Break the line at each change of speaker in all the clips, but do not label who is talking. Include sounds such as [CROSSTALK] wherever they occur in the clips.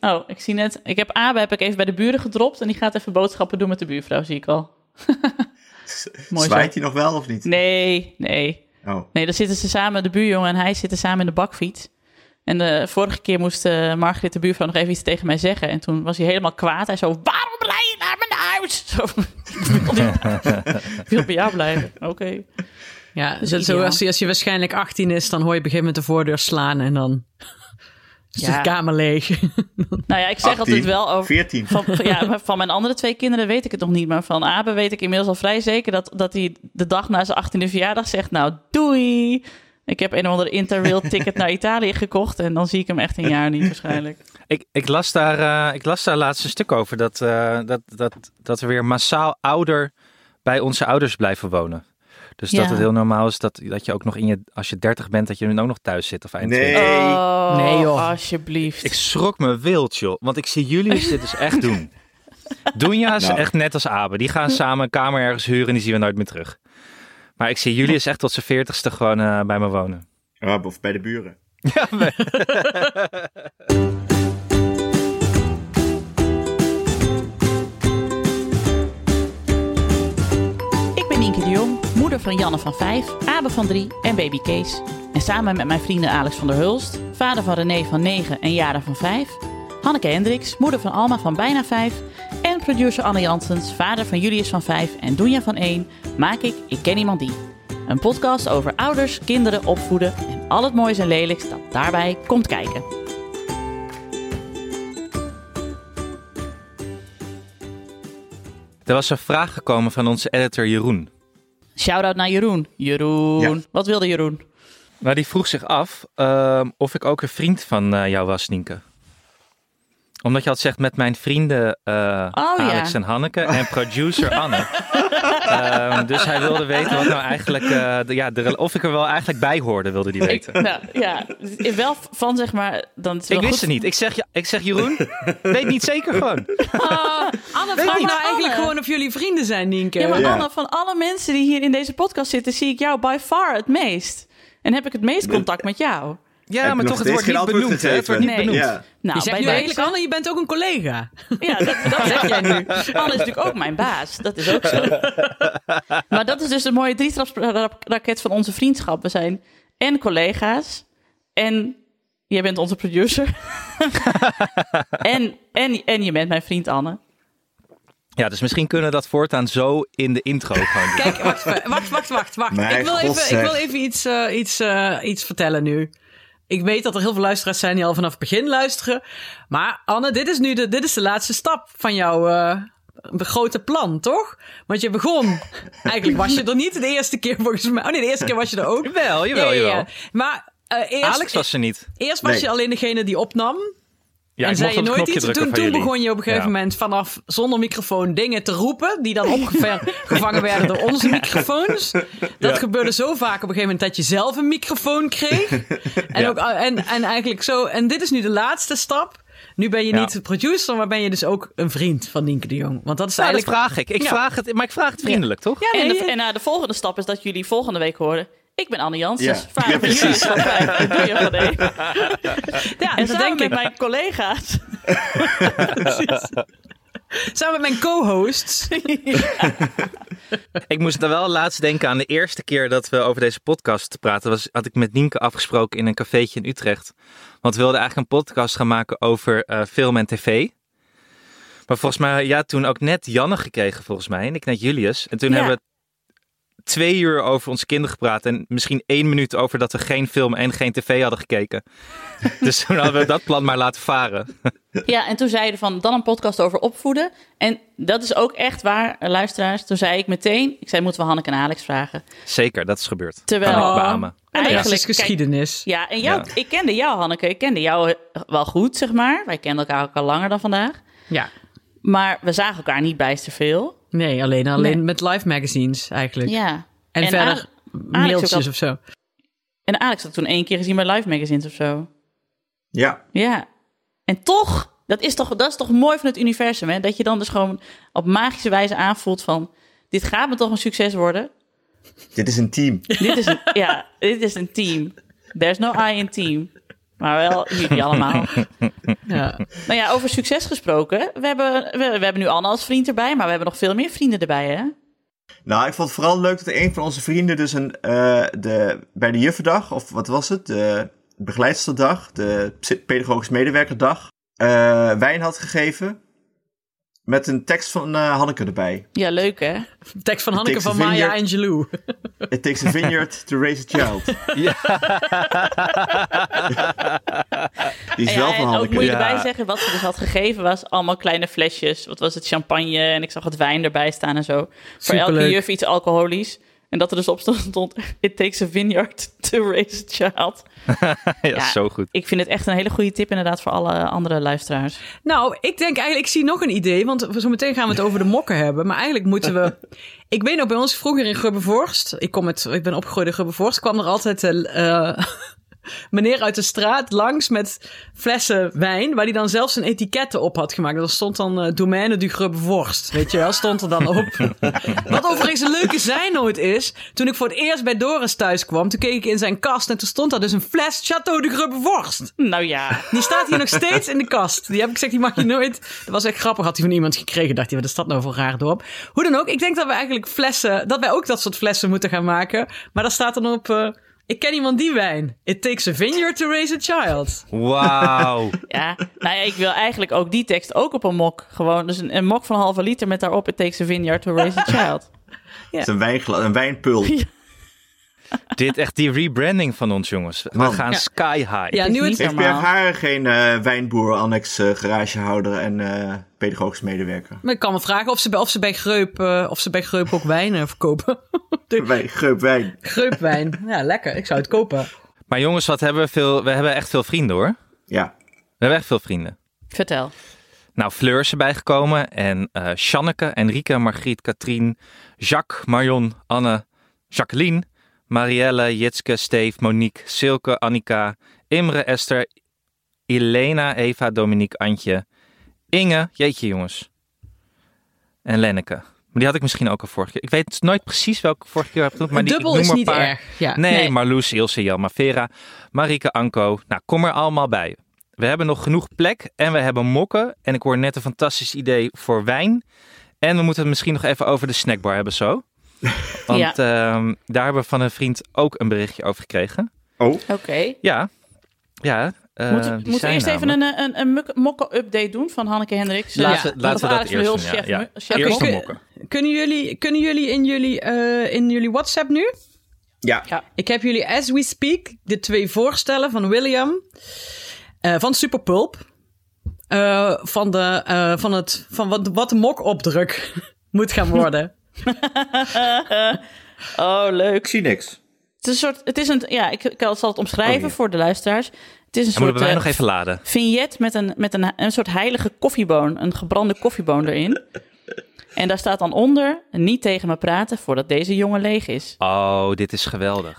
Oh, ik zie net. Ik heb Abe heb ik even bij de buren gedropt en die gaat even boodschappen doen met de buurvrouw, zie ik
[LAUGHS]
al. Mooi zo.
Zwaait hij nog wel of niet?
Nee, nee.
Oh,
Nee, dan zitten ze samen, de buurjongen en hij zitten samen in de bakfiets. En de vorige keer moest eh, Margriet, de buurvrouw, nog even iets tegen mij zeggen. En toen was hij helemaal kwaad. Hij zo, waarom rij je naar mijn huis? Zo, [LAUGHS] ik wil niet- ik wil bij jou blijven. Oké.
Ja, zo,
Ideaal.
zo als, je, als je waarschijnlijk 18 is, dan hoor je op een gegeven moment de voordeur slaan en dan [LAUGHS] is
Ja.
de kamer leeg. [LAUGHS]
Nou ja, ik zeg
18,
altijd wel over...
14.
Van, van- ja, maar van mijn andere twee kinderen weet ik het nog niet. Maar van Abe weet ik inmiddels al vrij zeker dat, dat hij de dag na zijn 18e verjaardag zegt: Nou, doei. Ik heb een of ander interrail ticket naar Italië gekocht. En dan zie ik hem echt een jaar niet waarschijnlijk.
Ik, ik, las daar, eh, ik las daar laatst een stuk over dat, eh, dat, dat, dat we weer massaal ouder bij onze ouders blijven wonen. Dus
Ja.
dat het heel normaal is dat, dat je ook nog in je, als je 30 bent, dat je dan ook nog thuis zit of eind
Nee.
20.
Oh,
Nee, joh.
alsjeblieft.
Ik schrok me wild, joh. Want ik zie jullie dit dus echt
[LAUGHS]
doen. Doenja is
Nou.
echt net als Abe. Die gaan samen een kamer ergens huren en die zien we nooit meer terug. Maar ik zie jullie is echt tot zijn veertigste gewoon eh, bij me wonen.
Ja, Of bij de buren.
Ja, maar-
Ik ben Nienke de Jong, moeder van Janne van 5, Abe van 3 en baby Kees. En samen met mijn vrienden Alex van der Hulst, vader van René van 9 en Jara van 5, Hanneke Hendricks, moeder van Alma van bijna 5 en producer Anne Janssens, vader van Julius van 5 en Doenja van 1, maak ik Ik Ken Iemand Die. Een podcast over ouders, kinderen, opvoeden en al het moois en lelijks dat daarbij komt kijken.
er was een vraag gekomen van onze editor Jeroen.
Shout-out naar Jeroen. Jeroen.
Ja.
Wat wilde Jeroen?
Nou, die vroeg zich af ehm, of ik ook een vriend van eh, jou was, Nienke. Omdat je had gezegd met mijn vrienden eh,
Oh,
Alex en Hanneke en producer
[LAUGHS]
Anne. Ehm, dus hij wilde weten wat nou eigenlijk, eh, de- ja, de, rel- of ik er wel eigenlijk bij hoorde, wilde hij weten.
Nou, ja, wel van zeg maar... Dan
Ik wist het niet. Ik zeg, ja- ik zeg Jeroen, weet niet zeker gewoon.
Anne,
vraag
vraag
nou
nou
Anne.
eigenlijk gewoon of jullie vrienden zijn, Nienke.
Ja, maar
Ja.
Anne, van alle mensen die hier in deze podcast zitten, zie ik jou by far het meest. En heb ik het meest contact met jou.
Heb
Ja,
je
maar
nog
toch, het
steeds
wordt
geen antwoord
niet benoemd. hè? Het wordt niet
gegeven?
benoemd.
Nee.
Ja.
Nou,
je zegt nu
bij
eigenlijk, Anne, je bent ook een collega.
Ja, dat, [LAUGHS] dat zeg jij nu. Anne is natuurlijk ook mijn baas. Dat is ook zo. [LAUGHS] Maar dat is dus het mooie drietrapsraket van onze vriendschap. We zijn en collega's en jij bent onze producer. [LAUGHS] en, en, en je bent mijn vriend Anne.
Ja, dus misschien kunnen we dat voortaan zo in de intro gewoon doen.
Kijk, wacht, even, wacht, wacht, wacht. wacht.
Mijn
Ik wil
God,
even,
zeg.
ik wil even iets, eh, iets, eh, iets vertellen nu. Ik weet dat er heel veel luisteraars zijn die al vanaf het begin luisteren. Maar Anne, dit is nu de, dit is de laatste stap van jouw eh, grote plan, toch? Want je begon. Eigenlijk was je er niet de eerste keer volgens mij. Oh nee, de eerste keer was je er ook.
Jawel, jawel, jawel.
Maar eh, eerst,
Alex was er niet.
eerst was
Nee.
je alleen degene die opnam.
Ja,
en
ik
zei
mocht
je
op het
nooit
knopje
iets?
drukken
Toen, toen
van jullie.
begon je op een gegeven
Ja.
moment vanaf zonder microfoon dingen te roepen. die
[LAUGHS]
dan opgevangen werden door onze microfoons. Dat gebeurde zo vaak op een gegeven moment dat je zelf een microfoon kreeg. En,
Ja.
ook, en, en eigenlijk zo. En dit is nu de laatste stap. Nu ben je
Ja.
niet de producer, maar ben je dus ook een vriend van Nienke de Jong. Want dat is
Nou, dat
eigenlijk.
vraag ik. ik
Ja.
vraag het, maar ik vraag het vriendelijk, toch?
Ja,
En,
nee,
de, en eh, de volgende stap is dat jullie volgende week horen. Ik ben Anne Janssens,
Ja.
vader
Ja,
van jullie
precies.
van vijf en doe je van één.
ja,
En
dat
samen
denk
met
ik.
mijn collega's.
Samen met mijn co-hosts.
Ik moest er wel laatst denken aan de eerste keer dat we over deze podcast praten. Was, had ik met Nienke afgesproken in een cafeetje in Utrecht. Want we wilden eigenlijk een podcast gaan maken over eh, film en tv. Maar volgens mij, ja, toen ook net Janne gekregen, volgens mij. En ik net Julius. En toen
Ja.
hebben we twee uur over onze kinderen gepraat. En misschien één minuut over dat we geen film en geen tv hadden gekeken. [LAUGHS] dus toen hadden we dat plan maar laten varen.
Ja, en toen zeiden van dan een podcast over opvoeden. En dat is ook echt waar, eh, luisteraars. Toen zei ik meteen, ik zei moeten we Hanneke en Alex vragen.
Zeker, dat is gebeurd.
Terwijl-
Kan ik beamen. [LAUGHS]
En de rest
Eigenlijk,
is dus
kijk-
geschiedenis.
Ja, en jou,
Ja.
ik kende jou Hanneke, ik kende jou eh, wel goed, zeg maar. Wij kenden elkaar ook al langer dan vandaag.
Ja.
Maar we zagen elkaar niet bijster veel.
Nee, alleen, alleen
Nee.
met live magazines eigenlijk.
Ja.
En,
En
verder mailtjes
ook al-
of zo.
En Alex had ik toen één keer gezien bij Live Magazines of zo.
Ja,
Ja. En toch, dat is toch, dat is toch mooi van het universum, hè? Dat je dan dus gewoon op magische wijze aanvoelt van... Dit gaat me toch een succes worden.
dit is een team.
dit is een, ja, dit is een team. There's no I in team. Maar maar wel jullie allemaal.
Ja.
Nou ja, over succes gesproken. We hebben, we, we hebben nu Anna als vriend erbij, maar we hebben nog veel meer vrienden erbij, hè?
Nou, ik vond het vooral leuk dat een van onze vrienden dus een, eh, de, bij de juffendag, of wat was het, de begeleidsterdag, de ps- pedagogisch medewerkerdag, eh, wijn had gegeven met een tekst van eh, Hanneke erbij.
Ja, leuk, hè?
Tekst van Hanneke
Takes a
van Maya
vineyard.
Angelou.
It takes a vineyard to raise a
[LAUGHS]
child.
Ja.
Die is
Ja,
wel
en
van
ook moet
Hanneke.
je
Ja.
erbij zeggen, wat ze dus had gegeven was allemaal kleine flesjes. Wat was het, champagne en ik zag het wijn erbij staan en zo. Voor elke
Superleuk.
juf iets alcoholisch. En dat er dus op stond, it takes a vineyard to raise a child.
ja, zo goed.
Ik vind het echt een hele goede tip inderdaad voor alle andere luisteraars.
Nou, ik denk eigenlijk, ik zie nog een idee, want we- zo meteen gaan we het over de mokken hebben. Maar eigenlijk moeten we... Ik weet nog, bij ons vroeger in Grubbevorst, ik, kom uit, ik ben opgegroeid in Grubbevorst, kwam er altijd een eh, [LAUGHS] meneer uit de straat langs met flessen wijn, waar hij dan zelfs een etiketten op had gemaakt. Dat stond dan eh, Domaine du Grubbevorst, weet je wel, stond er dan op. Wat overigens een leuke zijn nooit is, toen ik voor het eerst bij Doris thuis kwam, toen keek ik in zijn kast en toen stond daar dus een fles Chateau de Grubbevorst.
Nou ja,
Die staat hier nog steeds in de kast. Die heb ik gezegd, die mag je nooit. Dat was echt grappig. Had hij van iemand gekregen. Dacht hij, wat is dat nou voor raar dorp? Hoe dan ook, ik denk dat we eigenlijk flessen, dat wij ook dat soort flessen moeten gaan maken. Maar daar staat dan op, eh, ik ken iemand die wijn. It takes a vineyard to raise a child.
Wauw.
ja. Nou ja, ik wil eigenlijk ook die tekst ook op een mok. Gewoon, dus een, een mok van een halve liter met daarop, it takes a vineyard to raise a child.
Het is een, wijngla- een wijnpul.
Dit echt die rebranding van ons, jongens. We
Man.
gaan
Ja.
sky high.
Ja, nu
niet
het,
zo-
Heeft
Normaal.
Berg Haren geen eh, wijnboer, annex eh, garagehouder en eh, pedagogisch medewerker?
maar ik kan me vragen of ze bij, of ze bij, Greup, eh, of ze bij Greup ook wijnen verkopen. [LAUGHS] De
Wij, geup wijn.
Greupwijn. Ja, lekker. Ik zou het kopen.
Maar jongens, wat hebben we veel? We hebben echt veel vrienden hoor.
Ja.
We hebben echt veel vrienden.
Vertel.
Nou, Fleur is erbij gekomen. En eh Sjanneke, Enrique, Margriet, Katrien, Jacques, Marion, Anne, Jacqueline, Marielle, Jitske, Steef, Monique, Silke, Annika, Imre, Esther, Elena, Eva, Dominique, Antje, Inge. Jeetje jongens. En Lenneke. Maar die had ik misschien ook al vorige keer. Ik weet nooit precies welke ik vorige keer heb genoemd. Maar die, ik
Dubbel
noem
is
een
niet
paar.
erg. Ja.
Nee, Marloes, Ilse, Jelma, Vera, Marike, Anko. Nou, kom er allemaal bij. We hebben nog genoeg plek en we hebben mokken. En ik hoor net een fantastisch idee voor wijn. En we moeten het misschien nog even over de snackbar hebben
[LAUGHS]
zo. Want ehm, daar hebben we van een vriend ook een berichtje over gekregen.
Oh,
Oké.
Ja, ja. eh,
Moeten
die
moeten we
zijn
eerst even
namelijk-
een, eh, een, een muk- mokken-update doen van Hanneke Hendricks?
Laten,
Ja.
we- laten we
Of
dat
Alex van
eerst doen.
Hulst,
ja,
chef-
ja.
chef
Eerst de
mok.
mokken.
Kunnen jullie, kunnen jullie, in, jullie eh, in jullie WhatsApp nu?
ja.
Ja.
Ik heb jullie as we speak de twee voorstellen van William eh, van Superpulp. eh, van de, eh, van het, van wat, wat de mokopdruk [LAUGHS] moet gaan worden.
Oh, leuk.
Ik zie niks.
Het is een soort, het is een, ja, ik, ik zal het omschrijven voor de luisteraars. Het is een
Oh, En
soort
moeten wij
eh,
nog even laden.
vignet met, een, met een, een soort heilige koffieboon, een gebrande koffieboon
[LAUGHS]
erin. En daar staat dan onder, niet tegen me praten voordat deze jongen leeg is.
Oh, dit is geweldig.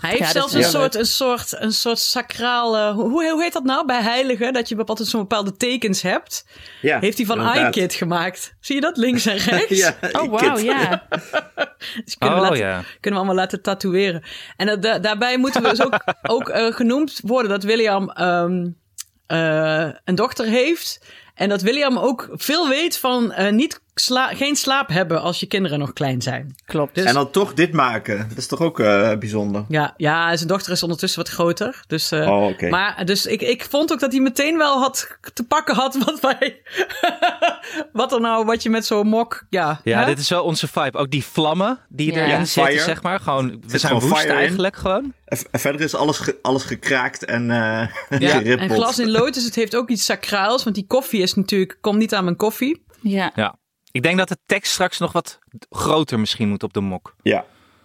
[LAUGHS] Hij heeft
dat
zelfs
is
een
heel
soort, een soort, een soort sacrale, hoe, hoe heet dat nou bij heiligen? Dat je bepaald zo'n bepaalde tekens hebt.
Ja,
Heeft hij van
inderdaad.
iKid gemaakt. Zie je dat links en rechts?
[LAUGHS] Ja,
Oh, wauw,
kid.
[LAUGHS]
ja.
Dus [LAUGHS] kunnen, we
Oh,
laten,
ja.
kunnen we allemaal laten tatoeëren. En dat, da- daarbij moeten we dus
[LAUGHS]
ook, ook eh, genoemd worden dat William ehm, eh, een dochter heeft. En dat William ook veel weet van eh, niet sla- geen slaap hebben als je kinderen nog klein zijn.
Klopt.
Dus-
En dan toch dit maken. Dat is toch ook eh, bijzonder.
Ja, ja, zijn dochter is ondertussen wat groter. Dus, eh,
Oh, oké.
Maar dus ik, ik vond ook dat hij meteen wel had te pakken had wat wij. [LAUGHS] wat er nou, wat je met zo'n mok. Ja,
Ja,
hè?
dit is wel onze vibe. Ook die vlammen die
Ja.
erin
Ja,
zitten,
fire.
zeg maar. Gewoon, we
zit
zijn
gewoon
woest
fire in.
eigenlijk gewoon.
En, en verder is alles, ge- alles gekraakt en eh
Ja, en
[LAUGHS] gerippeld.
glas in lood, dus het heeft ook iets sacraals. Want die koffie is natuurlijk, komt niet aan mijn koffie.
Ja.
Ja. Ik denk dat de tekst straks nog wat groter misschien moet op de mok.
Ja,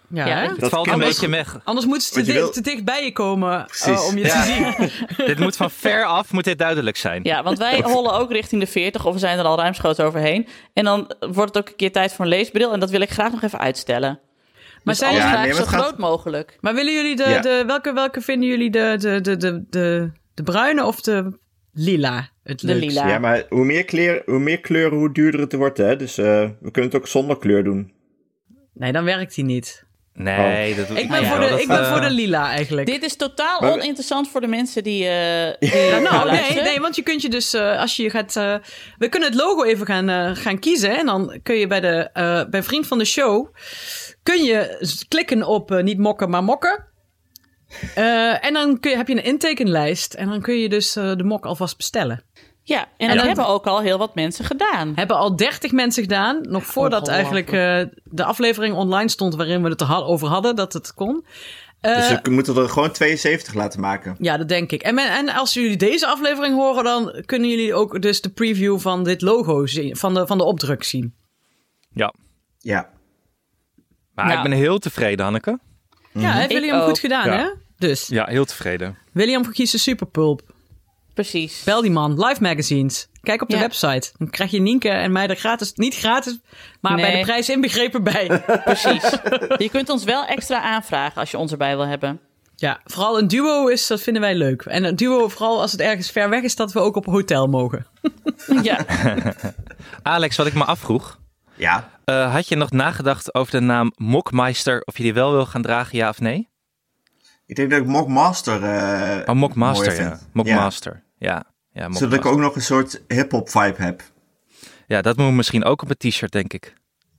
Ja,
Ja,
hè?
dat-
Het valt
kan
een
wel.
beetje weg.
[LAUGHS]
Anders moeten ze te,
Want je
dicht-
wil-
te dicht bij je komen eh,
Precies.
om je
Ja.
te zien.
[LAUGHS]
dit moet van ver af, moet dit duidelijk zijn.
Ja, want wij hollen ook richting de 40 of we zijn er al ruimschoots overheen. En dan wordt het ook een keer tijd voor een leesbril en dat wil ik graag nog even uitstellen. Dus
Maar, zijn,
Ja,
Alles
nee,
graag
maar
zo
het gaat-
groot mogelijk.
maar willen jullie de,
Ja.
de welke, welke vinden jullie de, de, de, de, de, de bruine of de lila? Het
De
leukst?
lila.
ja maar hoe meer, kleur, hoe meer kleuren, hoe duurder het wordt. Hè? Dus eh, we kunnen het ook zonder kleur doen.
Nee, dan werkt die niet.
Oh.
Nee, dat eh, doe
Ik ben, voor, de, ik ben
eh,
voor de lila eigenlijk.
Dit is totaal
Maar-
oninteressant voor de mensen die. eh die
Ja, nou, nee,
luisteren.
nee, want je kunt je dus eh, als je je gaat. eh, we kunnen het logo even gaan, eh, gaan kiezen. En dan kun je bij, de, eh, bij Vriend van de Show. Kun je s- klikken op eh, niet mokken, maar mokken. Eh, en dan kun je, heb je een intekenlijst. En dan kun je dus eh, de mok alvast bestellen.
Ja, en, dat
dan-
hebben ook al heel wat mensen gedaan.
Hebben al 30 mensen gedaan. Nog voordat eigenlijk eh, de aflevering online stond waarin we het er ha- over hadden dat het kon. Eh,
Dus we moeten er gewoon 72 laten maken.
Ja, dat denk ik. En, men- en als jullie deze aflevering horen, dan kunnen jullie ook dus de preview van dit logo zien, van de, van de opdruk zien.
Ja,
Ja.
maar
Nou.
ik ben heel tevreden, Hanneke.
Ja, heeft
Mhm. Ik
William
ook.
goed gedaan,
Ja.
hè? Dus,
Ja, heel tevreden.
William verkiest de superpulp.
Precies.
Bel die man, live magazines. Kijk op de
Ja.
website. Dan krijg je Nienke en mij er gratis, niet gratis, maar bij
Nee.
de prijs
[LAUGHS]
inbegrepen bij.
Precies. je kunt ons wel extra aanvragen als je ons erbij wil hebben.
ja, vooral een duo is, dat vinden wij leuk. En een duo, vooral als het ergens ver weg is, dat we ook op hotel mogen.
Ja.
Alex, wat ik me afvroeg.
Ja.
eh, had je nog nagedacht over de naam Mokmeister? Of je die wel wil gaan dragen, ja of nee?
Ik denk dat ik Mockmaster... eh
Oh, Mokmaster,
mooier
ja.
vind.
Mokmaster, ja. ja.
Ja.
Mokmaster.
Zodat ik ook nog een soort hip-hop vibe heb.
Ja, dat moet misschien ook op een t-shirt, denk ik.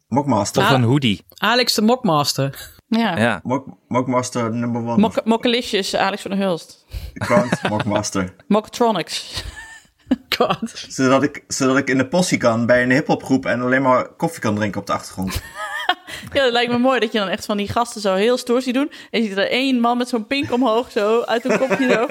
Mockmaster.
Of
Ah.
een hoodie.
Alex de Mokmaster.
ja.
Ja.
Mock, Mockmaster number one.
Mok- Mokkelicious, Alex van der Hulst.
Krant,
[LAUGHS]
Mockmaster.
Moktronics.
God.
Zodat ik, zodat ik in de possie kan bij een hip-hop groep en alleen maar koffie kan drinken op de achtergrond.
Ja, dat lijkt me mooi dat je dan echt van die gasten zo heel stoer ziet doen. En je ziet er één man met zo'n pink omhoog zo uit een kopje zo.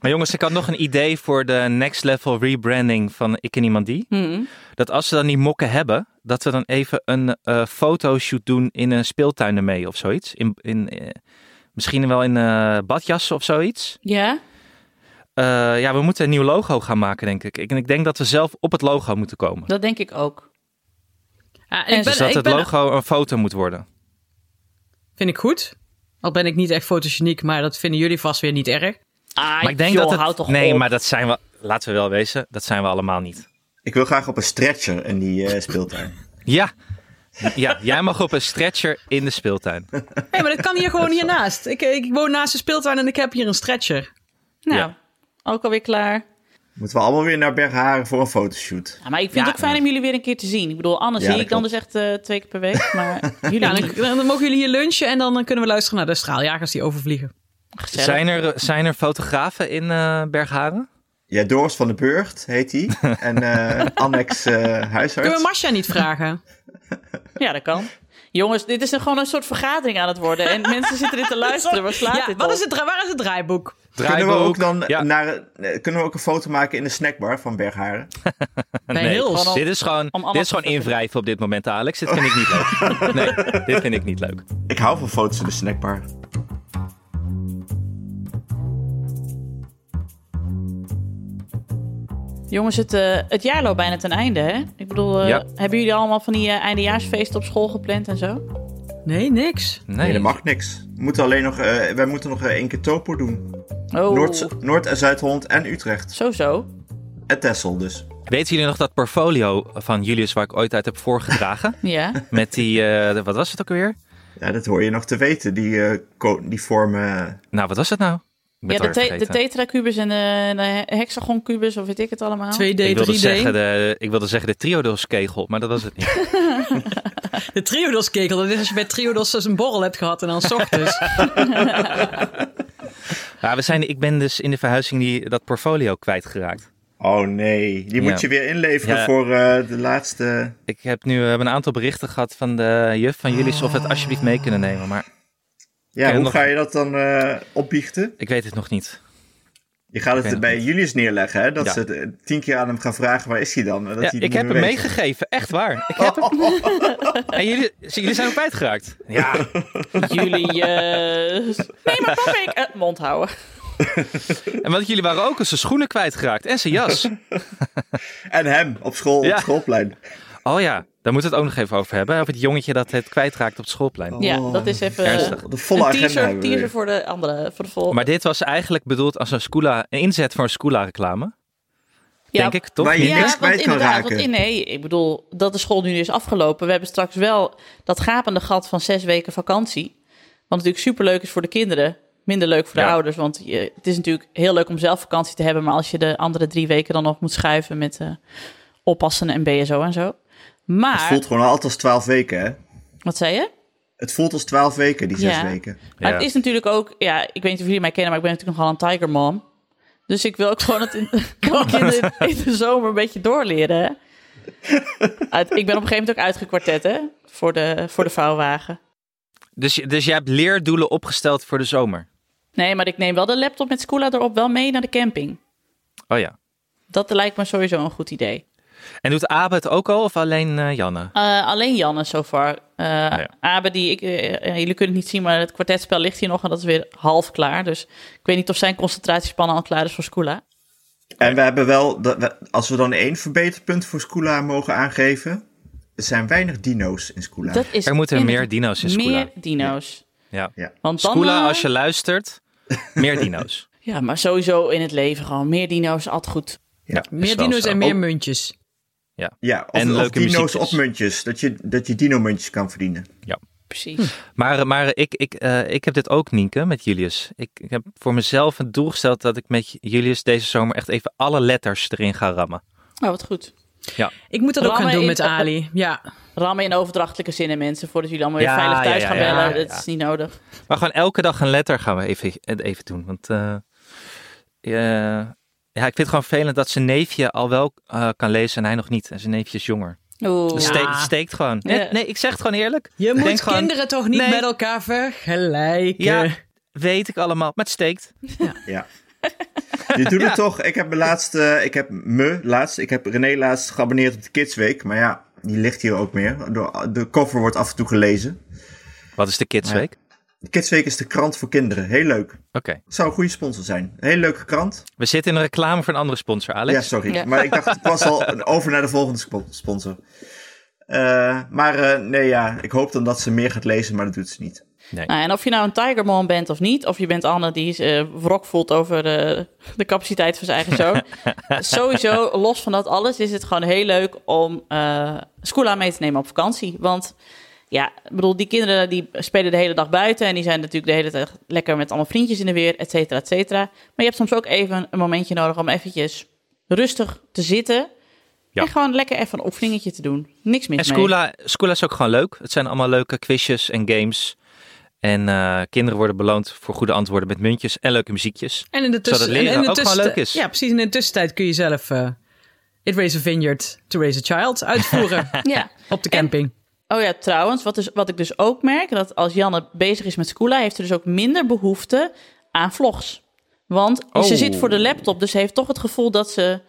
Maar jongens, ik had nog een idee voor de next level rebranding van Ik en Iemand Die.
Hmm.
Dat als ze dan die mokken hebben, dat we dan even een eh, fotoshoot doen in een speeltuin ermee of zoiets. In, in, eh, misschien wel in eh, badjassen of zoiets.
Ja?
Eh, ja, we moeten een nieuw logo gaan maken, denk ik. ik. En ik denk dat we zelf op het logo moeten komen.
Dat denk ik ook.
Ja,
En
ik
Dus
ben,
dat
ik
het
ben
logo een foto moet worden.
Vind ik goed. Al ben ik niet echt fotogeniek, maar dat vinden jullie vast weer niet erg.
Ah,
Maar ik denk
joh,
dat
houd
het...
toch
nee,
op.
maar dat zijn we... Laten we wel wezen, dat zijn we allemaal niet.
Ik wil graag op een stretcher in die eh,
[LAUGHS]
speeltuin.
Ja, ja jij mag op een stretcher in de speeltuin.
Hé, maar dat kan hier gewoon hiernaast. Ik, ik woon naast de speeltuin en ik heb hier een stretcher.
Nou,
Ja.
ook alweer klaar.
Moeten we allemaal weer naar Bergharen voor een fotoshoot.
Ja, maar ik vind
Ja.
het ook fijn om jullie weer een keer te zien. Ik bedoel, anders
Ja,
zie
dat
ik dan dus echt
klopt.
eh, twee keer per week. Maar jullie
Ja, dan,
niet.
dan mogen jullie hier lunchen en dan kunnen we luisteren naar de straaljagers die overvliegen.
Gezellig.
Zijn er, eh, zijn er fotografen in eh, Bergharen?
Ja, Doris van de Burgt heet
[LAUGHS]
die. En eh Annex eh
Kunnen we
Huisarts.
Marcia niet vragen?
Ja, dat kan. Jongens, dit is een, gewoon een soort vergadering aan het worden. En mensen zitten dit te luisteren. Waar slaat
Ja,
dit
wat
op?
is het, dra- waar is het draaiboek?
Kunnen we
Draaiboek.
ook dan
Ja.
naar, eh, kunnen we ook een foto maken in de snackbar van Bergharen?
Bij Hills.
Gewoon al-
Dit is gewoon,
om alles
dit is
te vertellen.
gewoon invrijven op dit moment, Alex. Dit vind ik niet leuk.
[LAUGHS]
Nee, dit vind ik niet leuk.
Ik hou van foto's in de snackbar.
Jongens, het, eh, het jaar loopt bijna ten einde, hè? Ik bedoel, eh,
Ja.
hebben jullie allemaal van die eh, eindejaarsfeesten op school gepland en zo?
Nee, niks.
Nee,
Nee, dat mag niks. We moeten alleen nog, eh, wij moeten nog eh, één keer Topo doen.
Oh,
Noord, Noord- en Zuid-Holland en Utrecht.
zo zo.
En Texel dus.
Weten jullie nog dat portfolio van Julius waar ik ooit uit heb
[LAUGHS]
voorgedragen?
Ja.
Met die, eh, de- wat was het ook weer?
Ja, dat hoor je nog te weten. Die, eh, ko- die vormen... eh,
Nou, wat was het nou? Ik ben
ja
het
de,
alweer
the- de
vergeten.
tetracubus en eh, de, de hexagoncubus, of weet ik het allemaal. [LAUGHS]
2D,
ik, wilde
3D.
zeggen de, ik wilde zeggen de triodoskegel, maar dat was
[LAUGHS]
het niet.
De Triodos-kekel. Dat is als je bij Triodos dus een borrel hebt gehad en dan 's
[LAUGHS]
ochtends.
Ja, we zijn, ik ben dus in de verhuizing die, dat portfolio kwijtgeraakt.
Oh nee, die
Ja.
moet je weer inleveren
Ja.
voor eh, de laatste...
Ik heb nu eh, een aantal berichten gehad van de juf van Julius of we het alsjeblieft mee kunnen nemen, maar
Ja,
Oké,
hoe
nog-
ga je dat dan eh, opbiechten?
ik weet het nog niet.
Je gaat het
weet
bij Julius neerleggen, hè? Dat
Ja.
ze het, eh, tien keer aan hem gaan vragen, waar is hij dan? En Dat
Ja,
hij het
ik
niet
heb hem
meer weet.
meegegeven, echt waar. Ik
[LAUGHS]
heb hem. En jullie, jullie zijn hem kwijtgeraakt. Ja.
Jullie, eh, Nee, maar papa, ik... eh, mond houden.
En want jullie waren ook eens zijn schoenen kwijtgeraakt en zijn jas.
En hem, op school, op
Ja.
het schoolplein.
Oh ja, daar moeten we het ook nog even over hebben. Over het jongetje dat het kwijtraakt op het schoolplein.
Ja, dat is even... eh,
Ernstig.
De Oh. volle
een
agenda
teaser,
hebben we weer.
teaser voor de
Oh.
andere, voor de volgende.
Maar dit was eigenlijk bedoeld als een, Scula, een inzet voor een Scula-reclame. Denk ik, toch?
Maar je-
Nienke?
niks
Ja, want
kwijt kan
inderdaad,
raken.
want in- nee, ik bedoel, dat de school nu is afgelopen. We hebben straks wel dat gapende gat van zes weken vakantie. Wat natuurlijk superleuk is voor de kinderen, minder leuk voor de
Ja.
ouders. Want je, het is natuurlijk heel leuk om zelf vakantie te hebben, maar als je de andere drie weken dan nog moet schuiven met eh, oppassen en BSO en zo.
Het
Maar,
voelt gewoon altijd als 12 weken, hè?
wat zei je?
Het voelt als 12 weken, die zes
Ja.
weken.
Maar
Ja.
het is natuurlijk ook, ja, ik weet niet of jullie mij kennen, maar ik ben natuurlijk nogal een tiger mom. Dus ik wil ook gewoon
[LAUGHS]
dat in, gewoon kinderen in de zomer een beetje doorleren. hè. Uit- ik ben op een gegeven moment ook uitgekwartet, hè? Voor de, voor de vouwwagen.
Dus, je- dus je hebt leerdoelen opgesteld voor de zomer.
Nee, maar ik neem wel de laptop met Scoola erop wel mee naar de camping.
Oh ja.
Dat lijkt me sowieso een goed idee.
En doet Abe het ook al of alleen eh, Janne?
Eh, alleen Janne so far. Eh,
ja.
Abe, die ik, eh, eh, jullie kunnen het niet zien, maar het kwartetspel ligt hier nog en dat is weer half klaar. Dus ik weet niet of zijn concentratiespannen al klaar is voor Scoola.
En we hebben wel, dat we- als we dan één verbeterpunt voor Scula mogen aangeven, er zijn weinig dino's in Scula.
Dat is
Er moeten meer
inderdaad-
dino's in Scula.
Meer dino's.
Ja.
Ja.
Want dan,
Scula,
eh,
als je luistert,
[LAUGHS]
meer dino's.
Ja, maar sowieso in het leven gewoon. Meer dino's, altijd goed.
Ja.
is
Meer
wel
dino's
zo. Oh.
en meer
Ook-
muntjes.
Ja, of,
En
of
leuke
dino's op
muziekjes.
muntjes, dat je, dat je dino-muntjes kan verdienen.
Precies.
Hm. Maar, maar ik, ik, eh, ik heb dit ook, Nienke, met Julius. Ik, ik heb voor mezelf een doel gesteld dat ik met Julius deze zomer echt even alle letters erin ga rammen.
Oh, wat goed.
Ik moet dat ook gaan
Rammen
doen
in-
met Ali. Ja.
Rammen in overdrachtelijke zinnen, mensen. Voordat jullie allemaal weer
Ja,
veilig thuis
ja,
gaan
ja, ja,
bellen.
ja,
Dat
ja.
is niet nodig.
Maar gewoon elke dag een letter gaan we even, even doen. Want eh, eh, ja, ik vind het gewoon vervelend dat zijn neefje al wel eh, kan lezen en hij nog niet. En zijn neefje is jonger.
Oeh.
Dat
Ja.
ste- dat steekt gewoon.
Ja.
Nee, nee, ik zeg het gewoon eerlijk.
Je
Ik
moet
denk gewoon,
kinderen toch niet
nee.
met elkaar vergelijken.
Ja, weet ik allemaal. Maar het steekt.
Ja. Je doet het toch, ik heb me laatst, eh, ik heb me laatst, ik heb René laatst geabonneerd op de Kids Week, maar ja, die ligt hier ook meer. De, de cover wordt af en toe gelezen.
Wat is de kidsweek?
De Kids Week is de krant voor kinderen, heel leuk.
Oké.
Zou een goede sponsor zijn. Heel leuke krant.
We zitten in een reclame voor een andere sponsor, Alex.
Ja, sorry.
Ja.
Maar ik dacht, het was
[LAUGHS]
al over naar de volgende spo- sponsor. Eh, maar eh, nee, ja, ik hoop dan dat ze meer gaat lezen, maar dat doet ze niet.
Nou, en of je nou een Tiger Mom bent of niet, of je bent Anne die eh wrok voelt over eh, de capaciteit van zijn eigen
[LAUGHS]
zoon. Sowieso, los van dat alles, is het gewoon heel leuk om eh Scoola mee te nemen op vakantie. Want ja, ik bedoel, die kinderen die spelen de hele dag buiten en die zijn natuurlijk de hele tijd lekker met allemaal vriendjes in de weer, et cetera, et cetera. Maar je hebt soms ook even een momentje nodig om eventjes rustig te zitten
Ja.
en gewoon lekker even een oefeningetje te doen. Niks mis mee.
En Scoola, Scoola is ook gewoon leuk. Het zijn allemaal leuke quizjes en games. En eh, kinderen worden beloond voor goede antwoorden met muntjes en leuke muziekjes.
En in de
Zodat
tussentijd.
leren ook gewoon leuk is.
Ja, precies. En in de tussentijd kun je zelf eh, It Raise a Vineyard to Raise a Child uitvoeren
[LAUGHS]
Ja.
op de camping.
Oh ja, trouwens, wat, is, wat ik dus ook merk, dat als Janne bezig is met Scoola, heeft ze dus ook minder behoefte aan vlogs. Want
Oh.
ze zit voor de laptop, dus ze heeft toch het gevoel dat ze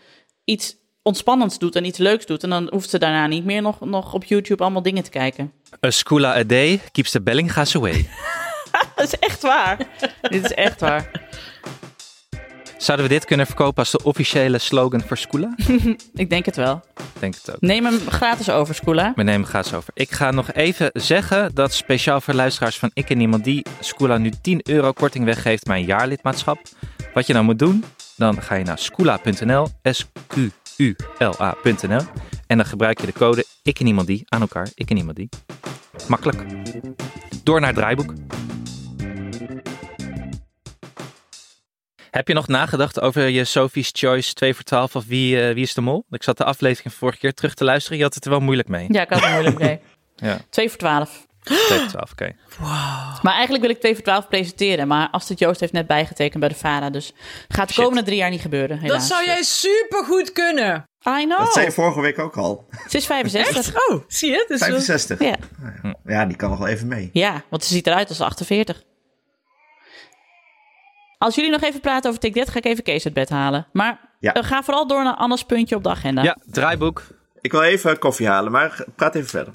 iets ontspannends doet en iets leuks doet. En dan hoeft ze daarna niet meer nog, nog op YouTube allemaal dingen te kijken.
A Scoola Eh, a day keeps the Bellinga's away.
Dat is echt waar. [LAUGHS] Dit is echt waar.
Zouden we dit kunnen verkopen als de officiële slogan voor Scoola?
Ik denk het wel.
Ik denk het ook.
Neem hem gratis over, Scoola.
We nemen gaas over. Ik ga nog even zeggen dat speciaal voor luisteraars van Ik en Niemand Die... Scoola nu 10 euro korting weggeeft bij een jaarlidmaatschap. Wat je nou moet doen, dan ga je naar scoola.nl, S-Q-U-L-A.nl. En dan gebruik je de code Ik en Niemand Die aan elkaar, Ik en Niemand Die. Makkelijk. Door naar het draaiboek. Heb je nog nagedacht over je Sophie's Choice 2 voor 12 of wie, eh, wie is de mol? Ik zat de aflevering van vorige keer terug te luisteren. Je had het er wel moeilijk mee.
Ja, ik had het moeilijk mee.
[LAUGHS] Ja.
2 voor 12.
2 voor 12, oké.
Maar eigenlijk wil ik 2 voor 12 presenteren. Maar Astrid Joost heeft net bijgetekend bij de VARA. Dus gaat de
Shit.
komende drie jaar niet gebeuren. Helaas.
Dat zou jij supergoed kunnen.
I know.
Dat
Oh.
zei je vorige week ook al.
Ze is 65.
Oh, zie je? Dus
65.
Ja.
Ja, die kan nog wel even mee.
ja, want ze ziet eruit als 48. Als jullie nog even praten over Take That, ga ik even Kees uit bed halen. Maar
Ja.
eh, ga vooral door naar Anna's puntje op de agenda.
Ja, draaiboek.
Ik wil even koffie halen, maar praat even verder.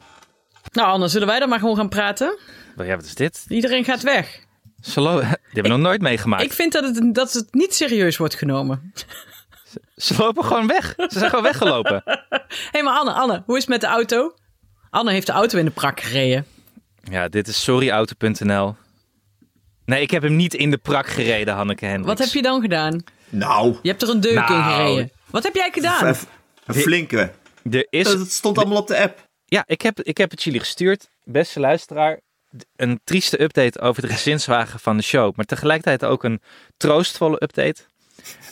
Nou, anders zullen wij dan maar gewoon gaan praten.
Ja, wat is dit?
Iedereen gaat weg.
Salo, [LAUGHS] die hebben we nog nooit meegemaakt.
Ik vind dat het, dat het niet serieus wordt genomen.
Ze lopen gewoon weg. Ze zijn gewoon weggelopen.
Hé, hey, maar Anne, Anne, hoe is het met de auto? Anne heeft de auto in de prak gereden.
Ja, dit is sorryauto.nl. Nee, ik heb hem niet in de prak gereden, Hanneke Hendricks.
Wat heb je dan gedaan?
Nou,
Je hebt er een deuk in
Nou,
gereden. Wat heb jij gedaan?
Een, een flinke.
Er is,
Dat stond allemaal op de app.
ja, ik heb, ik heb het jullie gestuurd, beste luisteraar. D- Een trieste update over de gezinswagen van de show. Maar tegelijkertijd ook een troostvolle update.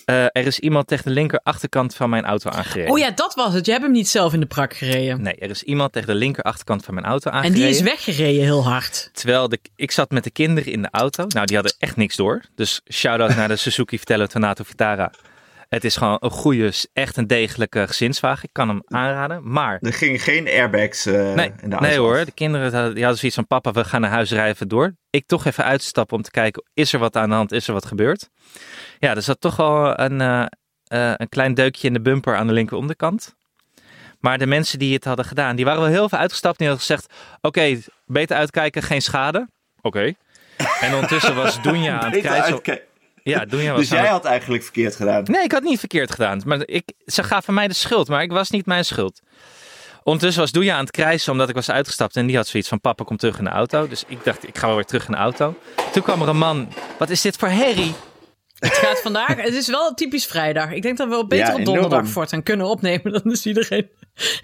Eh, er is iemand tegen de linker achterkant van mijn auto aangereden.
Oh ja, dat was het. Je hebt hem niet zelf in de prak gereden.
Nee, er is iemand tegen de linker achterkant van mijn auto
En
aangereden.
die is weggereden heel hard.
Terwijl de, ik zat met de kinderen in de auto. Nou, die hadden echt niks door. Dus shout-out naar de Suzuki Vitello Tornado Vitara. Het is gewoon een goede, echt een degelijke gezinswagen. Ik kan hem aanraden. Maar,
Er gingen geen airbags eh,
nee,
in de auto.
nee hoor. De kinderen hadden, die hadden zoiets van, papa, we gaan naar huis rijden even door. Ik toch even uitstappen om te kijken, is er wat aan de hand? Is er wat gebeurd? Ja, er zat toch al een, eh, eh, een klein deukje in de bumper aan de linker onderkant. Maar de mensen die het hadden gedaan, die waren wel heel veel uitgestapt. Die hadden gezegd, oké, beter uitkijken, geen schade. Oké. En ondertussen was Doenja aan het
Beter
krijgen.
uitkijken.
Ja, Doenja was
Dus
aan
jij
het-
had eigenlijk verkeerd gedaan.
Nee, ik had niet verkeerd gedaan. Maar ik, ze gaven mij de schuld, maar ik was niet mijn schuld. Ondertussen was Doenja aan het krijsen omdat ik was uitgestapt. En die had zoiets van, papa, kom terug in de auto. Dus ik dacht, ik ga wel weer terug in de auto. Toen kwam er een man. Wat is dit voor herrie?
Het gaat vandaag. Het is wel typisch vrijdag. Ik denk dat we beter
Ja,
op donderdag
enorm.
voortaan kunnen opnemen. Dan is iedereen.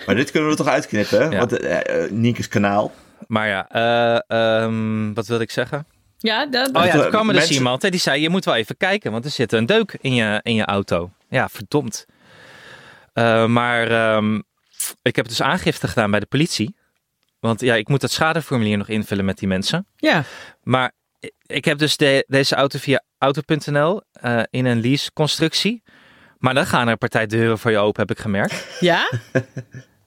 Maar dit kunnen we er toch uitknippen? hè?
Ja.
Want eh, eh, Nieke's kanaal.
Maar ja, eh, ehm, wat wilde ik zeggen?
Ja, dat.
Oh ja,
eh,
toen kwam er dus
mensen-
iemand en die zei: Je moet wel even kijken, want er zit een deuk in je, in je auto. Ja, verdomd. Eh, maar ehm, ik heb dus aangifte gedaan bij de politie. Want ja, ik moet dat schadeformulier nog invullen met die mensen.
ja.
Maar i- ik heb dus de- deze auto via auto.nl eh, in een lease-constructie. Maar dan gaan er partij deuren voor je open, heb ik gemerkt.
Ja?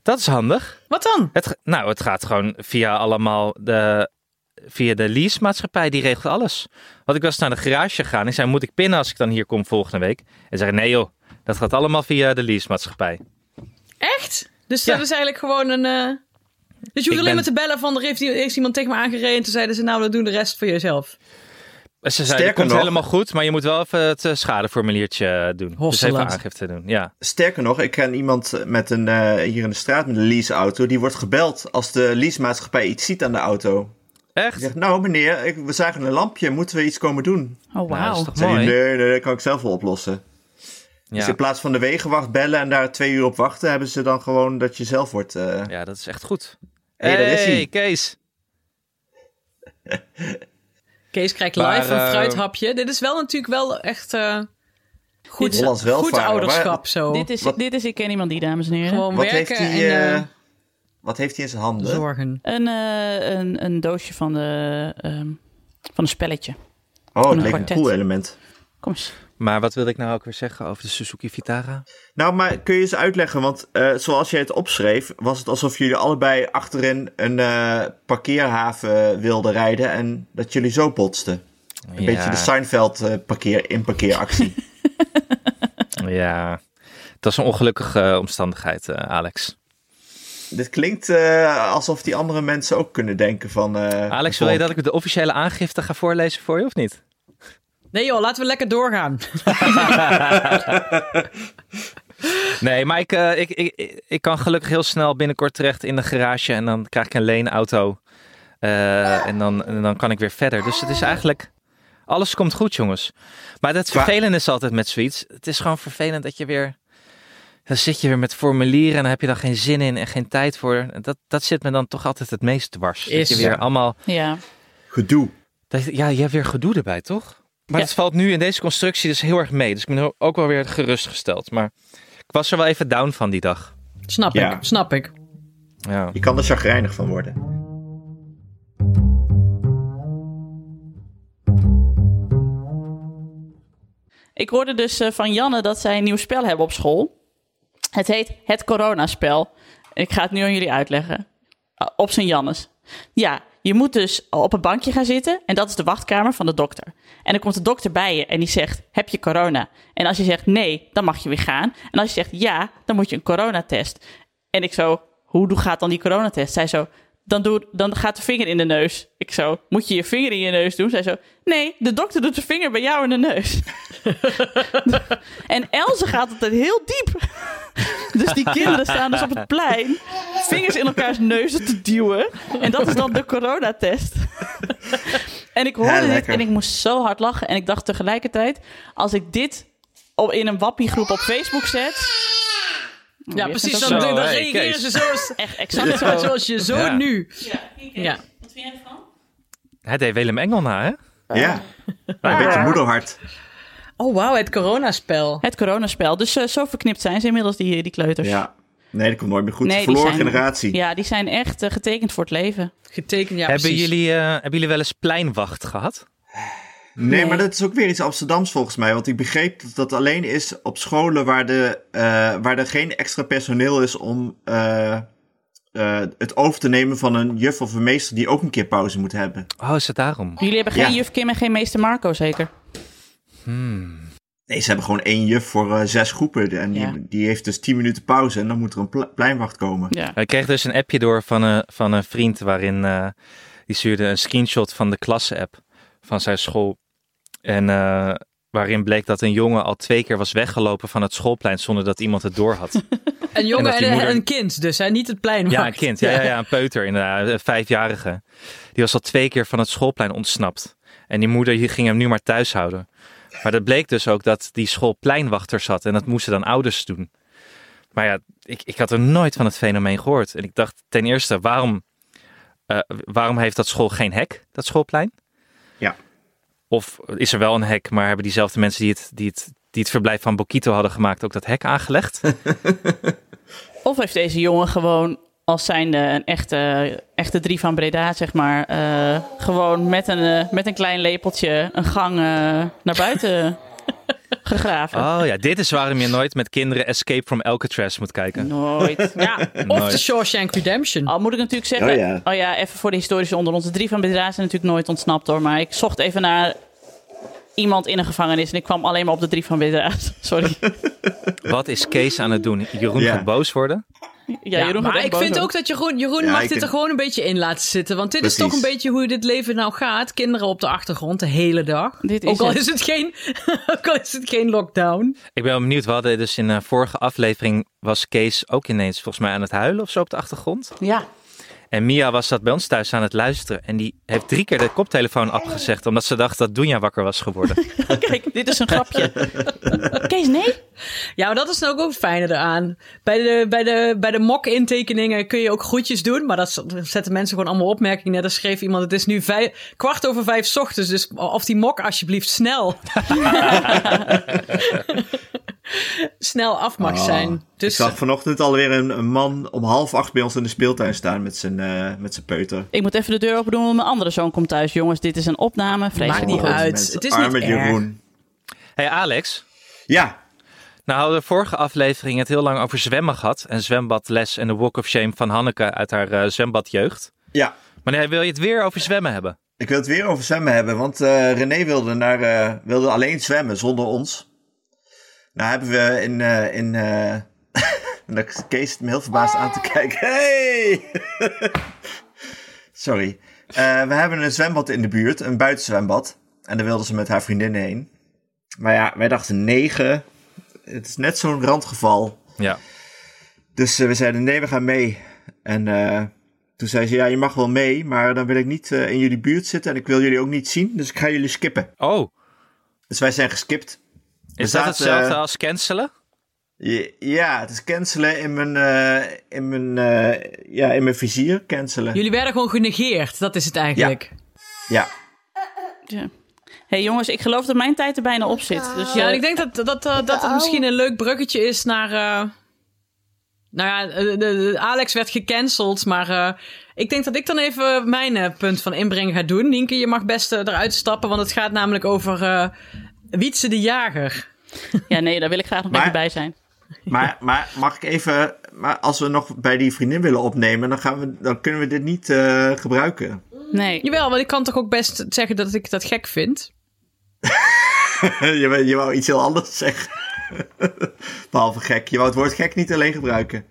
Dat is handig.
Wat dan?
Het, ge- nou, het gaat gewoon via allemaal de, via de leasemaatschappij. Die regelt alles. Want ik was naar de garage gegaan. Ik zei, moet ik pinnen als ik dan hier kom volgende week? En zei, nee joh, dat gaat allemaal via de leasemaatschappij.
Echt? Dus
Ja.
dat is eigenlijk gewoon een. eh, Dus je hoeft alleen
ben-
maar te bellen van er heeft, i- heeft iemand tegen me aangereden. En toen zeiden ze nou, dat doen de rest voor jezelf.
En Ze zei,
Sterker
dat komt
nog-
helemaal goed, maar je moet wel even het eh, schadeformuliertje doen. Dus
Hosselend.
even aangifte doen, ja.
Sterker nog, ik ken iemand met een, eh, hier in de straat met een leaseauto. Die wordt gebeld als de leasemaatschappij iets ziet aan de auto. Die
Echt?
zegt, nou meneer, ik- we zagen een lampje. Moeten we iets komen doen?
Oh,
Nou, dat
wauw.
is toch
Zei hij,
mooi?
nee, nee, dat kan ik zelf wel oplossen. Dus
Ja.
in plaats van de wegenwacht bellen en daar twee uur op wachten... hebben ze dan gewoon dat je zelf wordt... eh,
ja, dat is echt goed. Hé,
Hey, daar is hij.
Kees.
Kees krijgt
Maar,
live een
eh,
fruithapje. Dit is wel natuurlijk wel echt eh, goed,
Hollands
goed
welvaren,
ouderschap
maar-
zo.
Dit is,
Wat-
dit is Ik Ken Iemand Die, dames en heren.
gewoon
Wat heeft
werken
hij
en
eh,
eh,
wat heeft hij in zijn handen?
zorgen.
Een, eh, een, een doosje van, de, ehm, van een spelletje.
Oh,
Een
het leek me een
kwartet.
cool element.
Kom eens.
Maar wat wilde ik nou ook weer zeggen over de Suzuki Vitara?
Nou, maar kun je eens uitleggen, want eh, zoals jij het opschreef, was het alsof jullie allebei achterin een eh, parkeerhaven wilden rijden en dat jullie zo botsten. Een beetje de Seinfeld eh, parkeer in
[LAUGHS]
parkeeractie.
Ja, dat is een ongelukkige omstandigheid, eh, Alex.
Dit klinkt eh, alsof die andere mensen ook kunnen denken van... eh,
Alex,
van-
wil je dat ik de officiële aangifte ga voorlezen voor je of niet?
Nee joh, laten we lekker doorgaan. [LAUGHS]
Nee, maar ik, eh, ik, ik, ik kan gelukkig heel snel binnenkort terecht in de garage en dan krijg ik een leenauto. Eh, en, dan, en dan kan ik weer verder. Dus het is eigenlijk. Alles komt goed, jongens. Maar dat
Qua-
vervelende is altijd met zoiets. Het is gewoon vervelend dat je weer. Dan zit je weer met formulieren en dan heb je daar geen zin in en geen tijd voor. Dat, dat zit me dan toch altijd het meest dwars.
Is
dat je weer
zo.
allemaal
Ja.
Gedoe.
Dat- ja, je hebt weer gedoe erbij, toch? Maar
Ja.
het valt nu in deze constructie dus heel erg mee. Dus ik ben ook wel weer gerustgesteld. Maar ik was er wel even down van die dag.
Snap
Ja.
ik, snap ik.
Ja.
Je kan er chagrijnig van worden.
Ik hoorde dus eh, van Janne dat zij een nieuw spel hebben op school. Het heet Het Coronaspel. Ik ga het nu aan jullie uitleggen. Eh, op zijn Jannes. Ja, je moet dus op een bankje gaan zitten. En dat is de wachtkamer van de dokter. En dan komt de dokter bij je en die zegt: Heb je corona? En als je zegt nee, dan mag je weer gaan. En als je zegt ja, dan moet je een coronatest. En ik zo: Hoe doe- gaat dan die coronatest? Zij zo: dan, doe, dan gaat de vinger in de neus. Ik zo: Moet je je vinger in je neus doen? Zij zo: Nee, de dokter doet zijn vinger bij jou in de neus. En Elze gaat altijd heel diep. Dus die kinderen staan dus op het plein, vingers in elkaars neuzen te duwen. En dat is dan de coronatest. En ik hoorde
Ja,
dit
lekker.
en ik moest zo hard lachen. En ik dacht tegelijkertijd, als ik dit op- in een wappiegroep op Facebook zet,
Ja, precies.
ook
Dan,
zo.
dan
Hey,
reageren ze [LAUGHS]
Kees.
zoals,
Echt exact zo.
zoals je zo
Ja.
nu.
Ja, kijk eens.
Ja.
Wat vind jij ervan?
Hij deed Willem Engel na, hè?
[LAUGHS]
Ja. Hij weet de moederhart.
Oh, wauw, het coronaspel.
Het coronaspel. Dus eh, zo verknipt zijn ze inmiddels, die, die kleuters.
Ja. Nee, dat komt nooit meer goed.
Nee, die
Verloren
zijn-
generatie.
Ja, die zijn echt eh, getekend voor het leven.
Getekend, ja,
hebben,
precies.
jullie, eh, hebben jullie wel eens pleinwacht gehad?
Nee, maar dat is ook weer iets Amsterdams volgens mij. Want ik begreep dat dat alleen is op scholen waar, de, eh, waar er geen extra personeel is om eh, eh, het over te nemen van een juf of een meester die ook een keer pauze moet hebben.
Oh, is het daarom?
Jullie hebben geen
Ja.
juf Kim en geen meester Marco, zeker?
Nee, ze hebben gewoon één juf voor eh, zes groepen. En die,
Ja.
die heeft dus tien minuten pauze en dan moet er een ple- pleinwacht komen.
Ja.
Ik kreeg dus een appje door van een, van een vriend waarin eh, die stuurde een screenshot van de klasse-app van zijn school. En eh, waarin bleek dat een jongen al twee keer was weggelopen van het schoolplein zonder dat iemand het door had.
Een jongen
En dat
en,
die moeder-
een kind dus, hè? niet het plein.
Ja, een kind. Ja, ja, ja, een peuter inderdaad. Een vijfjarige. Die was al twee keer van het schoolplein ontsnapt. En die moeder die ging hem nu maar thuis houden. Maar dat bleek dus ook dat die schoolpleinwachter zat. En dat moesten dan ouders doen. Maar ja, ik, ik had er nooit van het fenomeen gehoord. En ik dacht ten eerste, waarom, eh, waarom heeft dat school geen hek, dat schoolplein?
Ja.
Of is er wel een hek, maar hebben diezelfde mensen die het, die het, die het verblijf van Bokito hadden gemaakt ook dat hek aangelegd?
Of heeft deze jongen gewoon, als zijnde een echte, echte drie van Breda, zeg maar, eh, gewoon met een, eh, met een klein lepeltje een gang eh, naar buiten [LAUGHS] gegraven?
Oh ja, dit is waarom je nooit met kinderen Escape from Alcatraz moet kijken.
Nooit.
Ja, [LAUGHS] of
Nooit.
de Shawshank Redemption.
Al moet ik natuurlijk zeggen, oh
Oh
ja,
ja.
even voor de historische onder ons, de drie van Breda zijn natuurlijk nooit ontsnapt hoor, maar ik zocht even naar iemand in een gevangenis en ik kwam alleen maar op de drie van Breda. [LAUGHS] Sorry.
Wat is Kees aan het doen? Jeroen
Ja.
gaat boos worden.
Ja,
Ja,
Jeroen gaat
maar
echt
ik
boos
vind
worden.
ook dat Jeroen, Jeroen
Ja,
mag
ik
dit er
denk-
gewoon een beetje in laten zitten. Want dit is
Predit
toch een beetje hoe dit leven nou gaat. Kinderen op de achtergrond de hele dag.
Dit is
ook, al
het.
Is het geen, [LAUGHS] ook al is het geen lockdown.
Ik ben wel benieuwd, we hadden dus in de vorige aflevering was Kees ook ineens volgens mij aan het huilen of zo op de achtergrond.
Ja,
En Mia was dat bij ons thuis aan het luisteren. En die heeft drie keer de koptelefoon afgezegd omdat ze dacht dat Dunja wakker was geworden.
[LAUGHS] kijk, dit is een
[LAUGHS]
grapje. Kees, nee?
Ja, maar dat is nou ook het fijne eraan. Bij de, bij de, bij de mok-intekeningen kun je ook groetjes doen. Maar dat z- zetten mensen gewoon allemaal opmerkingen. neer. Daar schreef iemand, het is nu vijf, kwart over vijf 's ochtends. Dus of die mok
[LAUGHS]
alsjeblieft snel. snel af mag zijn. Dus,
Oh, Ik zag vanochtend alweer een, een man om half acht bij ons in de speeltuin staan met zijn, eh, met zijn peuter.
Ik moet even de deur open doen, want mijn andere zoon komt thuis. Jongens, dit is een opname. Vreselijk.
Maakt niet
Grote
uit.
mensen.
Het is niet
Arme
erg.
Jeroen.
hey Alex,
Ja,
nou hadden we de vorige aflevering het heel lang over zwemmen gehad. En zwembadles en de walk of shame van Hanneke uit haar eh, zwembadjeugd.
ja.
Maar nee, wil je het weer over zwemmen hebben?
Ik wil het weer over zwemmen hebben, want eh, René wilde, naar, eh, wilde alleen zwemmen zonder ons. Nou hebben we in... eh in eh, [LAUGHS] en dat Kees zit me heel verbaasd aan te kijken. Hey! [LAUGHS] Sorry. Eh, we hebben een zwembad in de buurt, een buitenzwembad. En daar wilde ze met haar vriendinnen heen. Maar ja, wij dachten negen. Het is net zo'n randgeval.
Ja.
Dus eh, we zeiden, nee, we gaan mee. En eh, toen zei ze, ja, je mag wel mee, maar dan wil ik niet eh, in jullie buurt zitten en ik wil jullie ook niet zien, dus ik ga jullie skippen.
Oh,
Dus wij zijn geskipt. We
is dat
zaten,
hetzelfde
eh,
als cancelen?
je- ja, het is cancelen in mijn, eh, in mijn, eh, ja, in mijn vizier, cancelen.
Jullie werden gewoon genegeerd, dat is het eigenlijk.
Ja.
Ja. hey, jongens, ik geloof dat mijn tijd er bijna op zit. Dus,
Ja,
eh,
en ik denk dat, dat, dat, dat het misschien een leuk bruggetje is naar... eh, nou ja, eh, de, de- Alex werd gecanceld, maar eh, ik denk dat ik dan even mijn eh, punt van inbreng ga doen. Nienke, je mag best eh, eruit stappen, want het gaat namelijk over eh Wietse de Jager.
ja, nee, daar wil ik graag nog
Maar-
even bij zijn.
Maar, maar mag ik even, maar als we nog bij die vriendin willen opnemen, dan, gaan we, dan kunnen we dit niet eh, gebruiken. [LAUGHS]
Nee.
Jawel, want ik kan toch ook best zeggen dat ik dat gek vind?
je, wou- je wou iets heel anders zeggen. [LAUGHS] Behalve gek. Je wou het woord gek niet alleen gebruiken.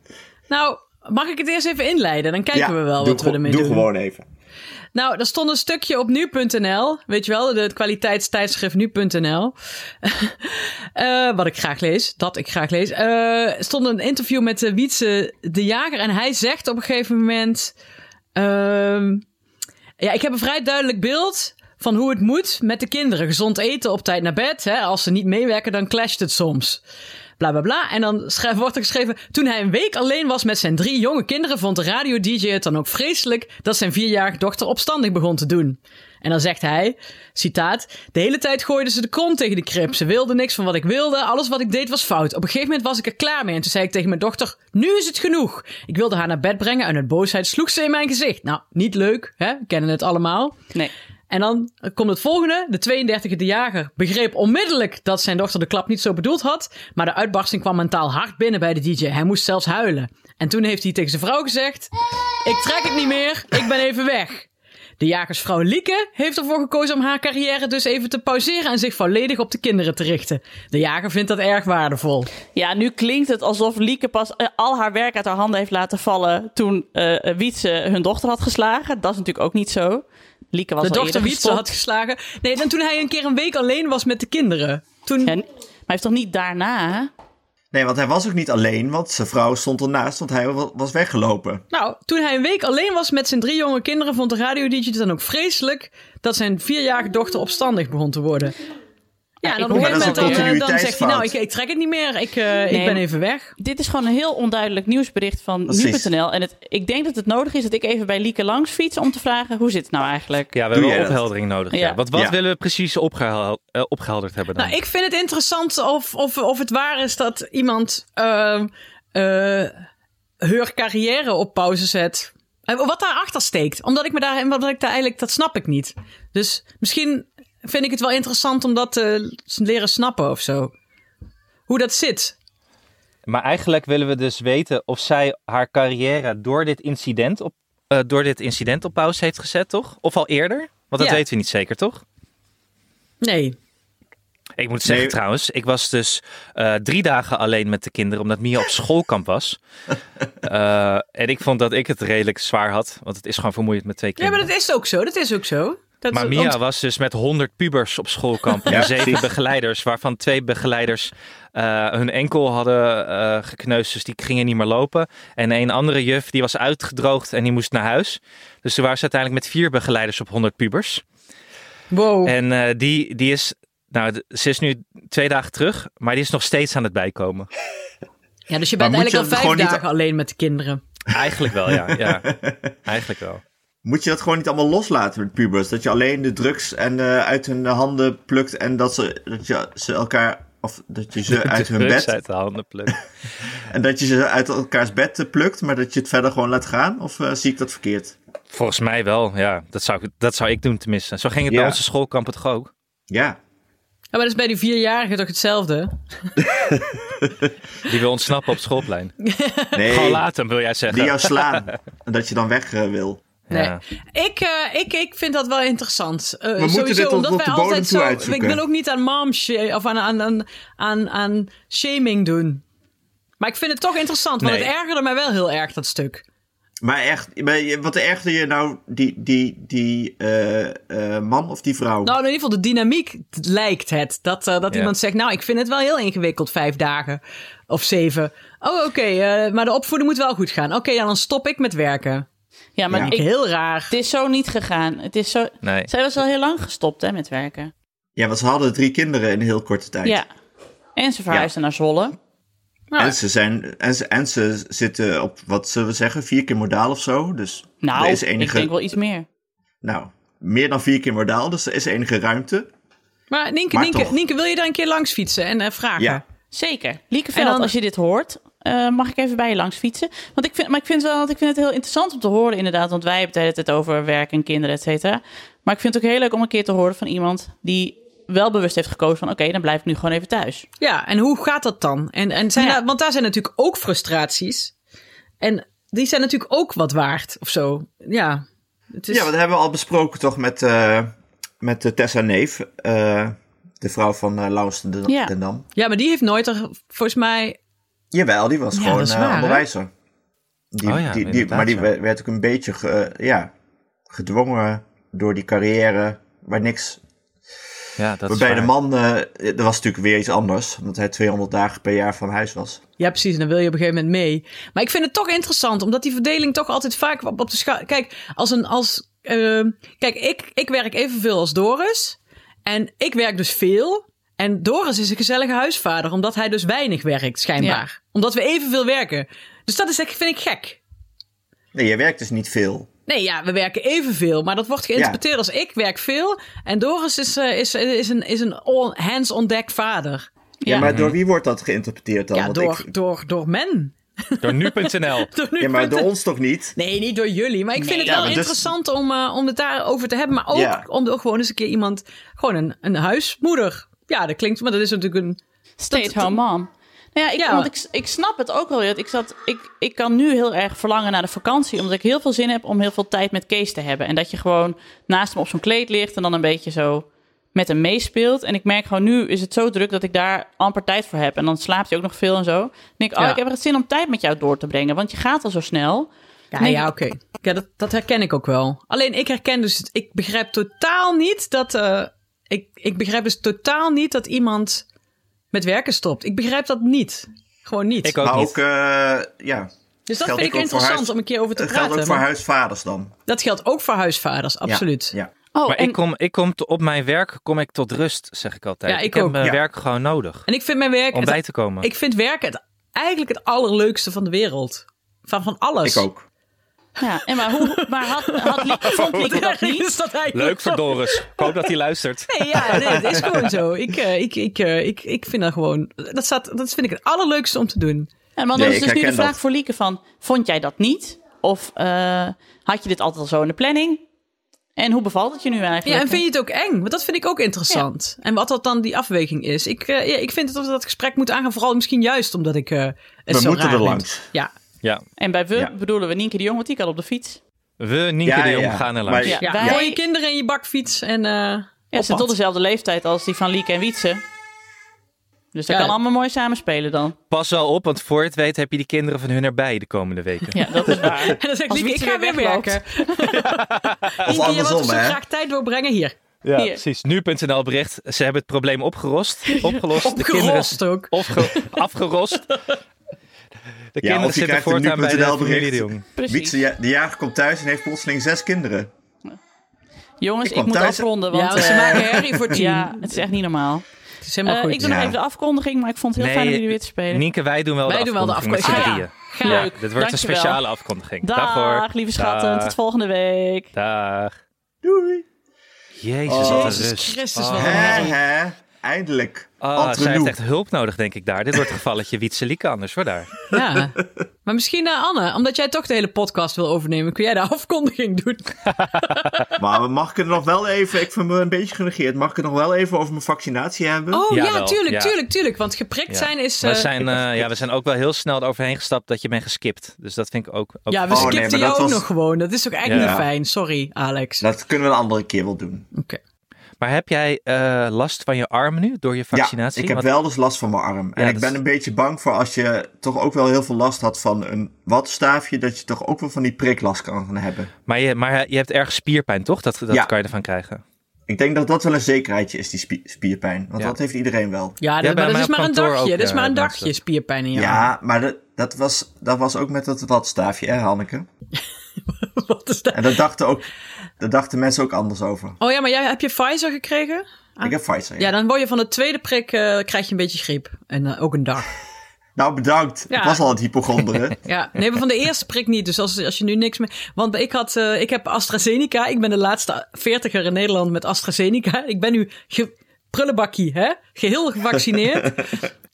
Nou, mag ik het eerst even inleiden? Dan kijken we wel
doe
wat we
gewo-
ermee
doe
doen.
gewoon even.
Nou, er stond een stukje op nu.nl. Weet je wel, de- het kwaliteitstijdschrift nu.nl. [LAUGHS] Eh, wat ik graag lees, dat ik graag lees. Eh, stond een interview met eh, Wietse de Jager. En hij zegt op een gegeven moment... ehm, ja, ik heb een vrij duidelijk beeld van hoe het moet met de kinderen. Gezond eten, op tijd naar bed. Hè. Als ze niet meewerken, dan clasht het soms. bla bla bla. En dan schrijf, wordt er geschreven, toen hij een week alleen was met zijn drie jonge kinderen, vond de radio-dj het dan ook vreselijk dat zijn vierjarige dochter opstandig begon te doen. En dan zegt hij, citaat, de hele tijd gooiden ze de kont tegen de krip. Ze wilden niks van wat ik wilde. Alles wat ik deed was fout. Op een gegeven moment was ik er klaar mee. En toen zei ik tegen mijn dochter, nu is het genoeg. Ik wilde haar naar bed brengen en uit boosheid sloeg ze in mijn gezicht. Nou, niet leuk, hè? We kennen het allemaal.
Nee.
En dan komt het volgende. De 32e jager begreep onmiddellijk dat zijn dochter de klap niet zo bedoeld had. Maar de uitbarsting kwam mentaal hard binnen bij de DJ. Hij moest zelfs huilen. En toen heeft hij tegen zijn vrouw gezegd: Ik trek het niet meer, ik ben even weg. De jagersvrouw Lieke heeft ervoor gekozen om haar carrière dus even te pauzeren en zich volledig op de kinderen te richten. De jager vindt dat erg waardevol.
Ja, nu klinkt het alsof Lieke pas eh, al haar werk uit haar handen heeft laten vallen toen eh Wietse hun dochter had geslagen. Dat is natuurlijk ook niet zo. Lieke was
De
al
dochter
eerder
Wietse
gestopt.
had geslagen. Nee, dan toen hij een keer een week alleen was met de kinderen. Toen,
En, maar hij heeft toch niet daarna, hè?
Nee, want hij was ook niet alleen, want zijn vrouw stond ernaast, want hij wa- was weggelopen.
Nou, toen hij een week alleen was met zijn drie jonge kinderen, vond de radio-dj het dan ook vreselijk dat zijn vierjarige dochter opstandig begon te worden. Ja, en
ik
dan op een
hoor- Maar
gegeven moment
dat is
dan,
een
eh, dan zeg je,
continuïteitsfout.
nou, ik, ik trek het niet meer, ik, eh, ik
Nee.
ben even weg.
Dit is gewoon een heel onduidelijk nieuwsbericht van
Precies.
nu.nl. En het, ik denk dat het nodig is dat ik even bij Lieke langs fiets om te vragen hoe zit het nou eigenlijk.
Ja,
Doe
we hebben
jij dat?
opheldering nodig. Ja.
Ja.
Want wat
Ja.
willen we precies opgehaal- eh, opgehelderd hebben dan?
Nou, ik vind het interessant of, of, of het waar is dat iemand eh, eh, haar carrière op pauze zet. En wat daarachter steekt. Omdat ik me daar, omdat ik daar eigenlijk, dat snap ik niet. Dus misschien vind ik het wel interessant om dat te leren snappen of zo. Hoe dat zit.
Maar eigenlijk willen we dus weten of zij haar carrière door dit incident op, eh, door dit incident op pauze heeft gezet, toch? Of al eerder? Want dat
Ja.
weten we niet zeker, toch?
Nee.
Ik moet zeggen
Nee.
trouwens, ik was dus eh, drie dagen alleen met de kinderen, omdat
[LAUGHS]
Mia op schoolkamp was. Eh, en ik vond dat ik het redelijk zwaar had, want het is gewoon vermoeiend met twee
Ja, maar
kinderen.
dat is ook zo. Dat is ook zo. Dat
maar
is-
Mia
ont-
was dus met honderd pubers op schoolkamp
Ja,
en zeven
precies.
begeleiders, waarvan twee begeleiders eh, hun enkel hadden eh gekneusd, dus die gingen niet meer lopen. En een andere juf, die was uitgedroogd en die moest naar huis. Dus toen waren ze uiteindelijk met vier begeleiders op honderd pubers.
Wow.
En eh, die, die is. Nou, d- ze is nu twee dagen terug, maar die is nog steeds aan het
[LAUGHS]
bijkomen.
Ja, dus je
Maar
bent
moet je
eigenlijk al vijf
gewoon niet-
dagen alleen met de kinderen.
Eigenlijk wel, ja.
[LAUGHS]
ja. Eigenlijk wel.
Moet je dat gewoon niet allemaal loslaten met pubers? Dat je alleen de drugs en, eh, uit hun handen plukt en dat, ze, dat je ze elkaar... Of dat je ze uit
[LAUGHS] De
hun
drugs
bed...
Uit de handen plukken.
En dat je ze uit elkaars bed eh, plukt, maar dat je het verder gewoon laat gaan? Of eh, zie ik dat verkeerd?
Volgens mij wel, ja. Dat zou, ik- dat zou ik doen tenminste. Zo ging het bij
Ja.
onze schoolkamp toch ook.
Ja.
Ja, maar dat is bij die vierjarigen toch hetzelfde?
Die wil ontsnappen op het schoolplein. Gewoon
Nee,
later, wil jij zeggen.
die jou slaan. En dat je dan weg eh, wil.
Nee.
Ja.
Ik, eh, ik, ik vind dat wel interessant. Eh,
moeten
sowieso,
dit tot-
omdat
tot
wij
de bodem
altijd
toe
zo.
uitzoeken.
Ik wil ook niet aan mom sha- of aan, aan, aan, aan, aan shaming doen. Maar ik vind het toch interessant, want
Nee.
het ergerde mij wel heel erg, dat stuk.
Maar echt, maar je- wat ergerde je nou die, die, die eh, eh, man of die vrouw?
Nou, in ieder geval de dynamiek lijkt het. Dat, eh, dat
Ja.
iemand zegt, nou, ik vind het wel heel ingewikkeld, vijf dagen of zeven. Oh, oké, eh, maar de opvoeding moet wel goed gaan. Oké, ja, dan stop ik met werken.
Ja, maar
Ja.
Ik,
Heel raar.
het is zo niet gegaan. Het is zo...
Nee.
Zij was al heel lang gestopt hè, met werken.
Ja, want ze hadden drie kinderen in een heel korte tijd.
Ja. En ze verhuisde naar Zwolle.
Nou,
En, ze zijn, en, ze, en ze zitten op, wat zullen we zeggen, vier keer modaal of zo. Dus
Nou,
er is
ik
enige,
denk wel iets meer.
nou, meer dan vier keer modaal, dus er is enige ruimte.
Maar Nienke,
Maar
Nienke,
toch.
Nienke, wil je daar een keer langs fietsen en eh, vragen?
Ja.
Zeker. Lieke Veld,
En dan-
als je dit hoort, eh, mag ik even bij je langs fietsen? Want ik vind, maar ik vind, wel, want ik vind het heel interessant om te horen, inderdaad. Want wij hebben het altijd over werk en kinderen, et cetera. Maar ik vind het ook heel leuk om een keer te horen van iemand die wel bewust heeft gekozen van... oké, dan blijf ik nu gewoon even thuis.
Ja, en hoe gaat dat dan? En, en zijn
Ja.
daar- want daar zijn natuurlijk ook frustraties. En die zijn natuurlijk ook wat waard of zo. Ja, het is,
Ja, dat hebben we al besproken toch met, eh, met eh, Tessa Neef, eh, de vrouw van eh Laurens den,
Ja.
den Dam.
ja, maar die heeft nooit er volgens mij.
Jawel, die was
Ja,
gewoon
dat is
eh,
waar, hè?
onderwijzer. Die,
Oh ja,
die, die,
inderdaad,
maar die
ja.
we- werd ook een beetje ge- eh, ja, gedwongen door die carrière waar niks...
Ja, dat is
waarbij de
waar.
man, eh er was natuurlijk weer iets anders, omdat hij 200 dagen per jaar van huis was.
Ja, precies. En dan wil je op een gegeven moment mee. Maar ik vind het toch interessant, omdat die verdeling toch altijd vaak op, op de schaal. Kijk, als een. Als, ehm, kijk, ik, ik werk evenveel als Doris. En ik werk dus veel. En Doris is een gezellige huisvader, omdat hij dus weinig werkt, schijnbaar. Omdat we evenveel werken. Dus dat is, echt- vind ik gek.
Nee, jij werkt dus niet veel.
Nee, ja, we werken evenveel. Maar dat wordt geïnterpreteerd als ik werk veel. En Doris is, eh, is, is een, is een all hands on deck vader.
Ja, maar door wie wordt dat geïnterpreteerd dan?
Ja,
Want
door,
ik-
door, door men. [LAUGHS]
Door nu.nl.
Door nu
ja, maar
punten.
door ons toch niet?
Nee, niet door jullie. Maar ik vind het
Ja,
wel
maar dus-
interessant om, eh, om het daarover te hebben. Maar ook
Ja.
om er gewoon eens een keer iemand... Gewoon een, een huismoeder. Ja, dat klinkt... Maar dat is natuurlijk een...
Stay-at-home mom. Nou ja, ik,
Ja.
Want ik, ik snap het ook wel. Jut. Ik, zat, ik, ik kan nu heel erg verlangen naar de vakantie. Omdat ik heel veel zin heb om heel veel tijd met Kees te hebben. En dat je gewoon naast hem op zo'n kleed ligt. En dan een beetje zo met hem meespeelt. En ik merk gewoon nu is het zo druk dat ik daar amper tijd voor heb. En dan slaapt hij ook nog veel en zo. Dan denk ik, oh,
Ja.
ik heb echt zin om tijd met jou door te brengen. Want je gaat al zo snel.
Ja,
Nee,
ja oké. Ja, dat, dat herken ik ook wel. Alleen ik herken dus... Ik begrijp totaal niet dat... eh, ik, ik begrijp dus totaal niet dat iemand met werken stopt. Ik begrijp dat niet. Gewoon niet.
Ik ook
maar
niet.
ook, eh, ja,
dus dat
geldt
vind ik
ook voor
interessant
huis-
om een keer over te
het geldt ook
praten.
voor
maar
huisvaders dan.
Dat geldt ook voor huisvaders,
Ja,
absoluut.
Ja,
Oh,
maar
en,
ik kom, ik kom te- op mijn werk kom ik tot rust, zeg ik altijd.
Ja, ik
heb
ook.
mijn
Ja.
werk gewoon nodig.
En ik vind mijn werk...
Om
het-
bij te komen.
Ik vind werken het, eigenlijk het allerleukste van de wereld. Van, van alles.
Ik ook.
ja, en maar hoe, maar had, had
[LAUGHS]
Lieke, vond Lieke dat niet?
Is [LAUGHS] dat eigenlijk
Leuk voor
zo?
Doris. Ik hoop dat hij luistert.
Nee, ja, nee, het is gewoon zo. Ik, eh, ik, ik, eh, ik, ik vind dat gewoon... Dat, staat, dat vind ik het allerleukste om te doen.
En want
Nee,
dat is dus
ik
nu de
herken
vraag
dat.
voor Lieke van, vond jij dat niet? Of eh, had je dit altijd al zo in de planning? En hoe bevalt het je nu eigenlijk?
Ja, en vind je het ook eng? Want dat vind ik ook interessant. En wat dat dan die afweging is. Ik, eh, ja, ik vind dat we dat gesprek moeten aangaan. Vooral misschien juist omdat ik eh het
We
zo
moeten
raar
er
vind.
langs.
Ja,
Ja.
En bij we
Ja.
bedoelen we Nienke de Jong, want die kan op de fiets.
We, Nienke
Ja,
de
ja,
Jong,
ja.
gaan er
Maar-
langs.
Ja,
ja.
wij-
Gooi je kinderen in je bakfiets en... eh
Ja, ze zijn
op
tot
pad.
dezelfde leeftijd als die van Lieke en Wietse. Dus dat
Ja.
kan allemaal mooi samenspelen dan.
Pas wel op, want voor het weet heb je die kinderen van hun erbij de komende weken.
Ja, dat is waar.
[LAUGHS] En dan zegt
Als
Lieke, ik
Wietse
ga
weer
weer
wegloopt.
werken.
Of
Lieke, je wilt
andersom,
zo
hè?
graag tijd doorbrengen hier.
Ja,
Hier.
precies. Nu.nl bericht, ze hebben het probleem opgerost. Opgelost. de kinderen,
Opgerost ook.
of ge- afgerost. De kinderen
of je
zitten
krijgt een
voortaan bij de
nu.nl
familie de
bericht.
Jong.
Precies.
Wietse, ja- de jager komt thuis en heeft plotseling zes kinderen.
Jongens,
Ik
ik,
kwam
moet
thuis-
afronden,
Ja,
want
want ze
eh,
maken herrie voor tien.
[LAUGHS] ja, het is echt niet normaal.
Het is helemaal
Eh,
goed.
ik doe
Ja.
nog even de afkondiging, maar ik vond het heel fijn om jullie weer te spelen.
Nienke, wij doen wel
Wij
de
doen wel de
afkondiging met z'n
afkondiging.
drieën.
Ah, ja.
Ja, dit wordt een
Dankjewel.
speciale afkondiging.
Dag,
hoor.
lieve schatten.
Dag.
Tot volgende week.
Dag.
Doei.
Jezus, wat een
Oh. Jezus
rust.
Christus, wat
Oh.
een
Hè,
herrie.
hè. Eindelijk.
Ah,
Entre
zij heeft
nous.
echt hulp nodig, denk ik, daar. Dit wordt een gevalletje Wietselieke anders, hoor, daar.
Ja. Maar misschien, eh, Anne, omdat jij toch de hele podcast wil overnemen, kun jij de [LAUGHS] afkondiging doen.
Maar mag ik er nog wel even, ik vind me een beetje genegeerd, mag ik het nog wel even over mijn vaccinatie hebben?
Oh ja,
Jawel,
tuurlijk,
ja.
tuurlijk, tuurlijk. Want geprikt zijn is... eh,
we, zijn, eh, ja, we zijn ook wel heel snel eroverheen gestapt dat je bent geskipt. Dus dat vind ik ook... ook
Ja, we
Oh, nee,
skipten
maar
jou
dat
ook
was-
nog gewoon. Dat is toch eigenlijk
Ja.
niet fijn. Sorry, Alex.
Dat kunnen we een andere keer wel doen.
Oké.
Maar heb jij eh, last van je arm nu door je vaccinatie?
Ja, ik heb
Want-
wel dus last van mijn arm. en
Ja,
ik
dat
ben
is-
een beetje bang voor als je toch ook wel heel veel last had van een wattenstaafje, dat je toch ook wel van die priklast kan gaan hebben.
Maar, je, maar je hebt erg spierpijn, toch? Dat, dat
Ja.
kan je ervan krijgen.
Ik denk dat dat wel een zekerheidje is, die spie- spierpijn. Want
Ja.
dat heeft iedereen wel.
Ja,
bij
dat, maar dat
mij
is
op
maar een
kantoor
dagje.
ook,
dat is maar
eh,
een
merk ze
dagje
dat.
spierpijn in
Ja,
jou. Ja.
maar dat, dat, was, dat was ook met dat wattenstaafje, hè, Hanneke?
[LAUGHS] Wat is dat?
En daar dachten, ook, daar dachten mensen ook anders over.
Oh ja, maar jij, heb je Pfizer gekregen?
Ik heb Pfizer.
Ah. Ja, dan word je van de tweede prik, eh, krijg je een beetje griep. En eh, ook een dag.
Nou, bedankt.
Ja.
Ik was al aan het
[LAUGHS]
hypochonderen.
Ja, nee, maar van de eerste prik niet. Dus als, als je nu niks meer... Want ik, had, eh, ik heb AstraZeneca. Ik ben de laatste veertiger in Nederland met AstraZeneca. Ik ben nu ge- prullenbakkie, hè?
[LAUGHS]
Geheel gevaccineerd.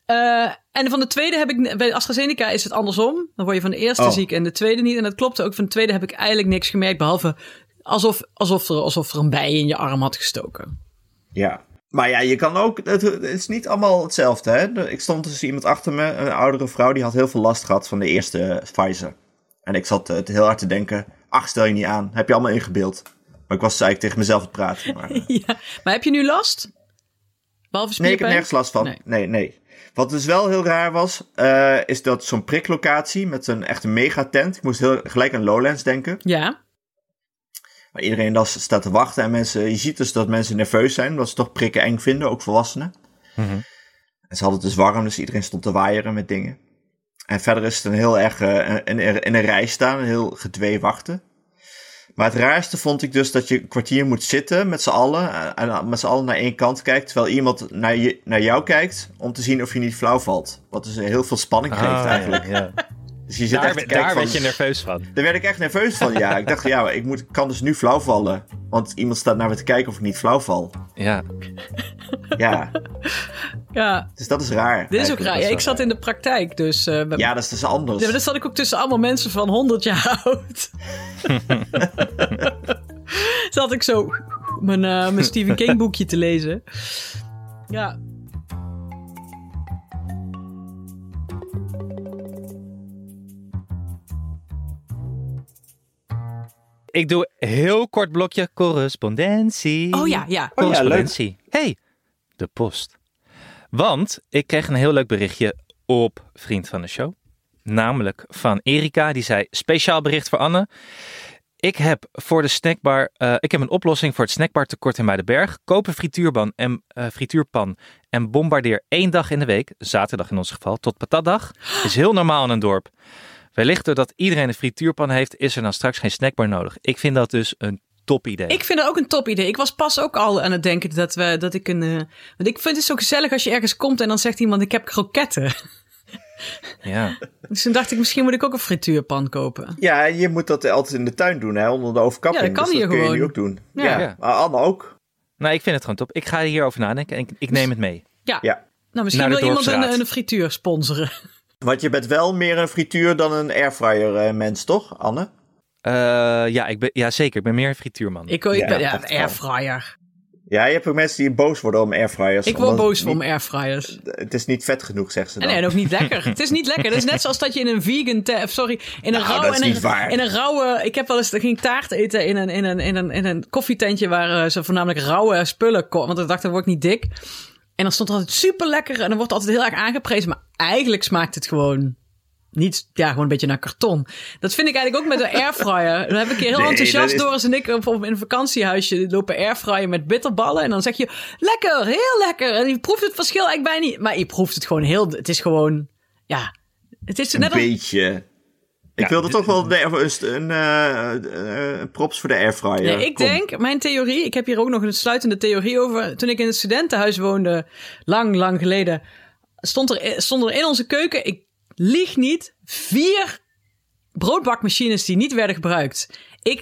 Eh, en van de tweede heb ik... Bij AstraZeneca is het andersom. Dan word je van de eerste
Oh.
ziek en de tweede niet. En dat klopt ook. Van de tweede heb ik eigenlijk niks gemerkt. Behalve alsof, alsof, er, alsof er een bij in je arm had gestoken. [LAUGHS]
ja. Maar ja, je kan ook... Het, het is niet allemaal hetzelfde, hè? Ik stond dus iemand achter me, een oudere vrouw, die had heel veel last gehad van de eerste Pfizer. En ik zat eh, het heel hard te denken, ach, stel je niet aan. Heb je allemaal ingebeeld. Maar ik was dus eigenlijk tegen mezelf aan het praten. Maar, eh,
Ja. Maar heb je nu last? Behalve
Nee, ik
spierpijn?
heb nergens last van.
Nee.
Nee, nee. Wat dus wel heel raar was, eh, is dat zo'n priklocatie met een echte megatent. Ik moest heel, gelijk aan Lowlands denken.
Ja.
Maar iedereen dat staat te wachten en mensen, je ziet dus dat mensen nerveus zijn, omdat ze toch prikken eng vinden, ook volwassenen.
Mhm.
En ze hadden het dus warm, dus iedereen stond te waaieren met dingen. En verder is het een heel erg eh, een, een, in een rij staan, een heel gedwee wachten. Maar het raarste vond ik dus dat je een kwartier moet zitten met z'n allen. eh, En met z'n allen naar één kant kijkt. Terwijl iemand naar, je, naar jou kijkt om te zien of je niet flauw valt. Wat dus heel veel spanning geeft
Ah,
eigenlijk.
ja.
Dus je zit
Daar,
echt te
werd-
kijken
daar
van-
werd je nerveus van.
Daar werd ik echt nerveus van, ja. ik dacht, ja, maar ik moet, ik kan dus nu flauw vallen. Want iemand staat naar me te kijken of ik niet flauw val.
Ja.
Ja,
Ja,
dus dat is raar.
dit is ook
eigenlijk.
raar.
Dat
Ja,
wel
ik zat in de praktijk, dus... eh bij-
Ja, dat is dus anders.
Ja, maar dan zat ik ook tussen allemaal mensen van 100 jaar [LAUGHS] oud. zat ik zo mijn, eh, [LAUGHS] mijn Stephen King boekje te lezen. Ja.
Ik doe heel kort blokje correspondentie.
Oh ja, ja.
Oh ja, leuk.
correspondentie. hey, de post. Want ik kreeg een heel leuk berichtje op Vriend van de Show. Namelijk van Erika, die zei: Speciaal bericht voor Anne. Ik heb voor de snackbar. eh, ik heb een oplossing voor het snackbar tekort in Muidenberg. Koop een frituurpan en, eh, frituurpan en bombardeer één dag in de week, zaterdag in ons geval, tot patatdag. Is heel normaal in een dorp. Wellicht doordat iedereen een frituurpan heeft, is er dan straks geen snackbar nodig. Ik vind dat dus een top idee.
Ik vind dat ook een top idee. Ik was pas ook al aan het denken dat, we, dat ik een... eh, want ik vind het zo gezellig als je ergens komt en dan zegt iemand ik heb kroketten. [LAUGHS]
Ja.
Dus toen dacht ik misschien moet ik ook een frituurpan kopen.
Ja, je moet dat altijd in de tuin doen, hè, onder de overkapping.
Ja, dat kan
dus
hier
kun
gewoon.
je nu ook doen.
Ja.
Ja,
Ja.
maar Anne ook.
Nou, ik vind het gewoon top. Ik ga hierover nadenken en ik, ik neem het mee.
Ja.
Ja.
Nou, misschien
Naar de
wil iemand een,
dorpsraad.
een frituur sponsoren. [LAUGHS]
Want je bent wel meer een frituur dan een airfryer eh, mens, toch, Anne?
Eh, ja, ik ben, ja, zeker. Ik ben meer een frituurman.
Ik, ik
Ja,
ben ja,
echt
een
wel.
airfryer.
Ja, je hebt ook mensen die boos worden om airfryers.
Ik word
omdat
boos
het
voor
niet-
mijn airfryers.
Het is niet vet genoeg, zegt ze dan.
Nee, en ook niet lekker.
[LAUGHS]
het is niet lekker. Het is net zoals dat je in een vegan... ta- of Sorry, in een
Nou,
rauwe...
dat is
in, een,
niet waar.
in een rauwe... Ik heb wel eens... Ik ging taart eten in een, in een, in een, in een koffietentje... waar eh, ze voornamelijk rauwe spullen... ko- Want ik dacht, dan word ik niet dik. En dan stond er altijd super lekker. En dan wordt altijd heel erg aangeprezen. Maar eigenlijk smaakt het gewoon... Niet, ja, gewoon een beetje naar karton. Dat vind ik eigenlijk ook met een airfryer. Dan heb ik hier heel
Nee,
enthousiast
dat is-
Doris en ik op, op- in een vakantiehuisje lopen airfryen met bitterballen. En dan zeg je, lekker, heel lekker. En je proeft het verschil eigenlijk bijna niet. Maar je proeft het gewoon heel, het is gewoon, ja. Het is
Een
net als,
beetje. Ik wilde toch wel de air- een, een, eh, eh, props voor de airfryer.
Nee, ik
Kom.
denk, mijn theorie, ik heb hier ook nog een sluitende theorie over. Toen ik in het studentenhuis woonde, lang, lang geleden, stond er, stond er in onze keuken, ik lieg niet, vier broodbakmachines die niet werden gebruikt. Ik,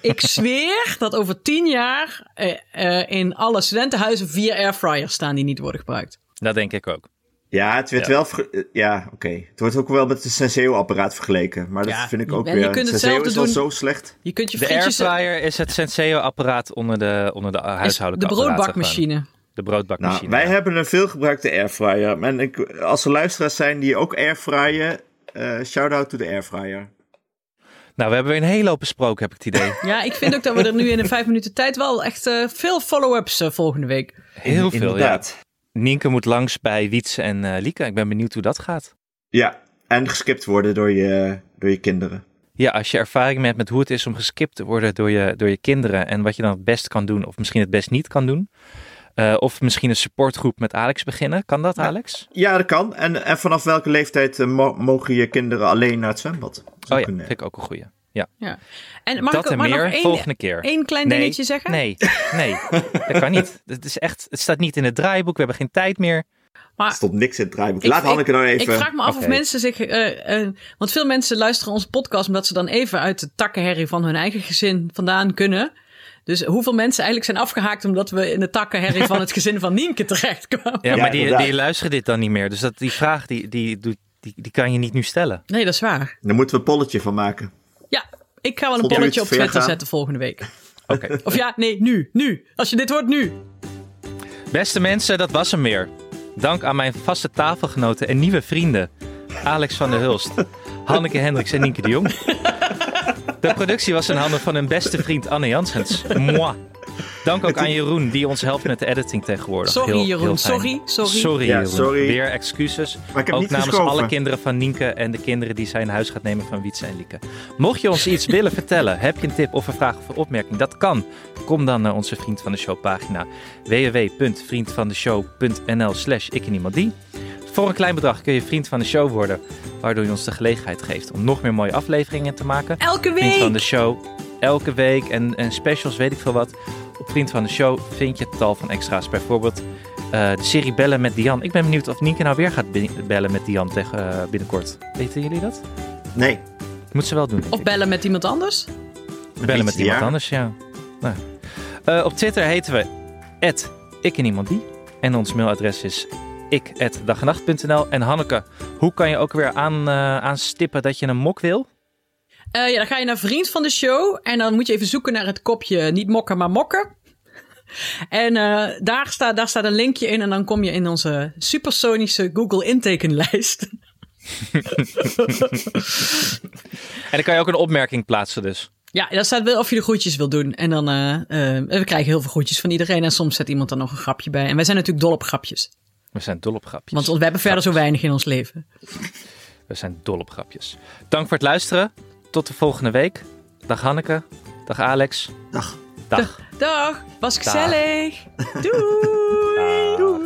ik zweer dat over tien jaar eh, eh, in alle studentenhuizen vier airfryers staan die niet worden gebruikt.
Dat denk ik ook.
Ja, het werd
Ja.
wel... ver- eh, Ja, oké. Het wordt ook wel met de Senseo-apparaat vergeleken. Maar dat
Ja,
vind ik ook
en je
weer...
kunt
Senseo
hetzelfde
is wel
doen-
zo slecht.
Je kunt je
De
frietjes...
airfryer is het Senseo-apparaat onder de, onder de
de
huishoudelijke apparaten gewoon.
broodbakmachine.
De
Nou,
broodbakmachine.
wij
ja.
hebben een veelgebruikte airfryer. En ik, als er luisteraars zijn die ook airfryen, eh shout-out to de airfryer.
nou, we hebben weer een hele hoop besproken, heb ik
[LAUGHS]
het idee.
Ja, ik vind ook dat we er nu in een vijf minuten tijd wel echt eh, veel follow-ups eh, volgende week.
Heel veel,
Inderdaad.
ja. Nienke moet langs bij Wiets en eh Lieke. Ik ben benieuwd hoe dat gaat.
Ja. en geskipt worden door je, door je kinderen.
Ja, als je ervaring hebt met hoe het is om geskipt te worden door je, door je kinderen en wat je dan het best kan doen, of misschien het best niet kan doen. Eh, of misschien een supportgroep met Alex beginnen. Kan dat, Alex?
Ja, dat kan. En, en vanaf welke leeftijd eh, mo- mogen je kinderen alleen naar het zwembad? Dat is
Oh
ook
ja,
een,
vind
eh,
ik ook een goeie. Ja.
Ja. En mag
dat
ik ook
en
maar
meer
nog één,
volgende keer.
één klein
Nee,
dingetje zeggen?
Nee, [LAUGHS] nee, dat kan niet. Het, is echt, het staat niet in het draaiboek, we hebben geen tijd meer.
Er
Maar
stond niks in het draaiboek.
ik-
Laat Hanneke nou even.
Ik vraag me af of
Oké.
mensen zich... eh, eh, want veel mensen luisteren onze podcast... omdat ze dan even uit de takkenherrie van hun eigen gezin vandaan kunnen. Dus hoeveel mensen eigenlijk zijn afgehaakt... omdat we in de takkenherrie van
[LAUGHS]
het gezin van Nienke terecht kwamen.
Ja,
Ja,
maar die,
inderdaad.
die luisteren dit dan niet meer. Dus dat, die vraag die, die, doet- die, die kan je niet nu stellen.
Nee, dat is waar.
Daar moeten we een polletje van maken.
Ja, ik ga wel een
Vond je
polletje op
het ver
Twitter
gaan?
zetten volgende week.
Oké. [LAUGHS]
Of ja, nee, nu. Nu. Als je dit hoort, nu.
Beste mensen, dat was hem weer. Dank aan mijn vaste tafelgenoten en nieuwe vrienden. Alex van der
[LAUGHS]
Hulst, Hanneke Hendricks en Nienke de Jong. De productie was in handen van hun beste vriend Anne Janssens. Moi. Dank ook aan Jeroen, die ons helpt met de editing tegenwoordig.
Sorry,
Heel-
Jeroen.
heel fijn.
Sorry, sorry.
Sorry,
Ja,
Jeroen.
sorry.
Weer excuses.
Maar ik heb
ook
niet
namens
geschoven.
alle kinderen van Nienke en de kinderen die zij in huis gaat nemen van Wietse en Lieke. Mocht je ons
[LAUGHS]
iets willen vertellen, heb je een tip of een vraag of een opmerking, dat kan. Kom dan naar onze Vriend van de Show pagina www.vriendvandeshow.nl slash ik en iemand die. Voor een klein bedrag kun je Vriend van de Show worden, waardoor je ons de gelegenheid geeft om nog meer mooie afleveringen te maken.
Elke
Vriend van
week.
de Show, elke week en, en specials, weet ik veel wat. Op Vriend van de Show vind je tal van extra's. Bijvoorbeeld eh, de serie Bellen met Dian. Ik ben benieuwd of Nienke nou weer gaat bin- bellen met Dian tegen, eh, binnenkort. Weten jullie dat?
Nee.
Moet ze wel doen.
Of bellen met iemand anders.
Bellen met
Iets
iemand
jaar.
anders, ja. Nou. Eh, op Twitter heten we ik en iemand die. En ons mailadres is ik En Hanneke, hoe kan je ook weer aan, eh, aanstippen dat je een mok wil?
Eh, ja, dan ga je naar vriend van de show. En dan moet je even zoeken naar het kopje niet mokken, maar mokken. [LAUGHS] En eh, daar, staat, daar staat een linkje in. En dan kom je in onze supersonische Google intekenlijst. [LAUGHS]
En dan kan je ook een opmerking plaatsen dus.
Ja, daar staat wel of je de groetjes wil doen. En dan eh, eh, we krijgen heel veel groetjes van iedereen. En soms zet iemand dan nog een grapje bij. En wij zijn natuurlijk dol op grapjes.
We zijn dol op grapjes.
Want we hebben verder zo
Grapjes.
weinig in ons leven.
We zijn dol op grapjes. Dank voor het luisteren. Tot de volgende week. Dag Hanneke. Dag Alex.
Dag.
Dag.
Dag, was
Dag.
gezellig. Doei. Doei.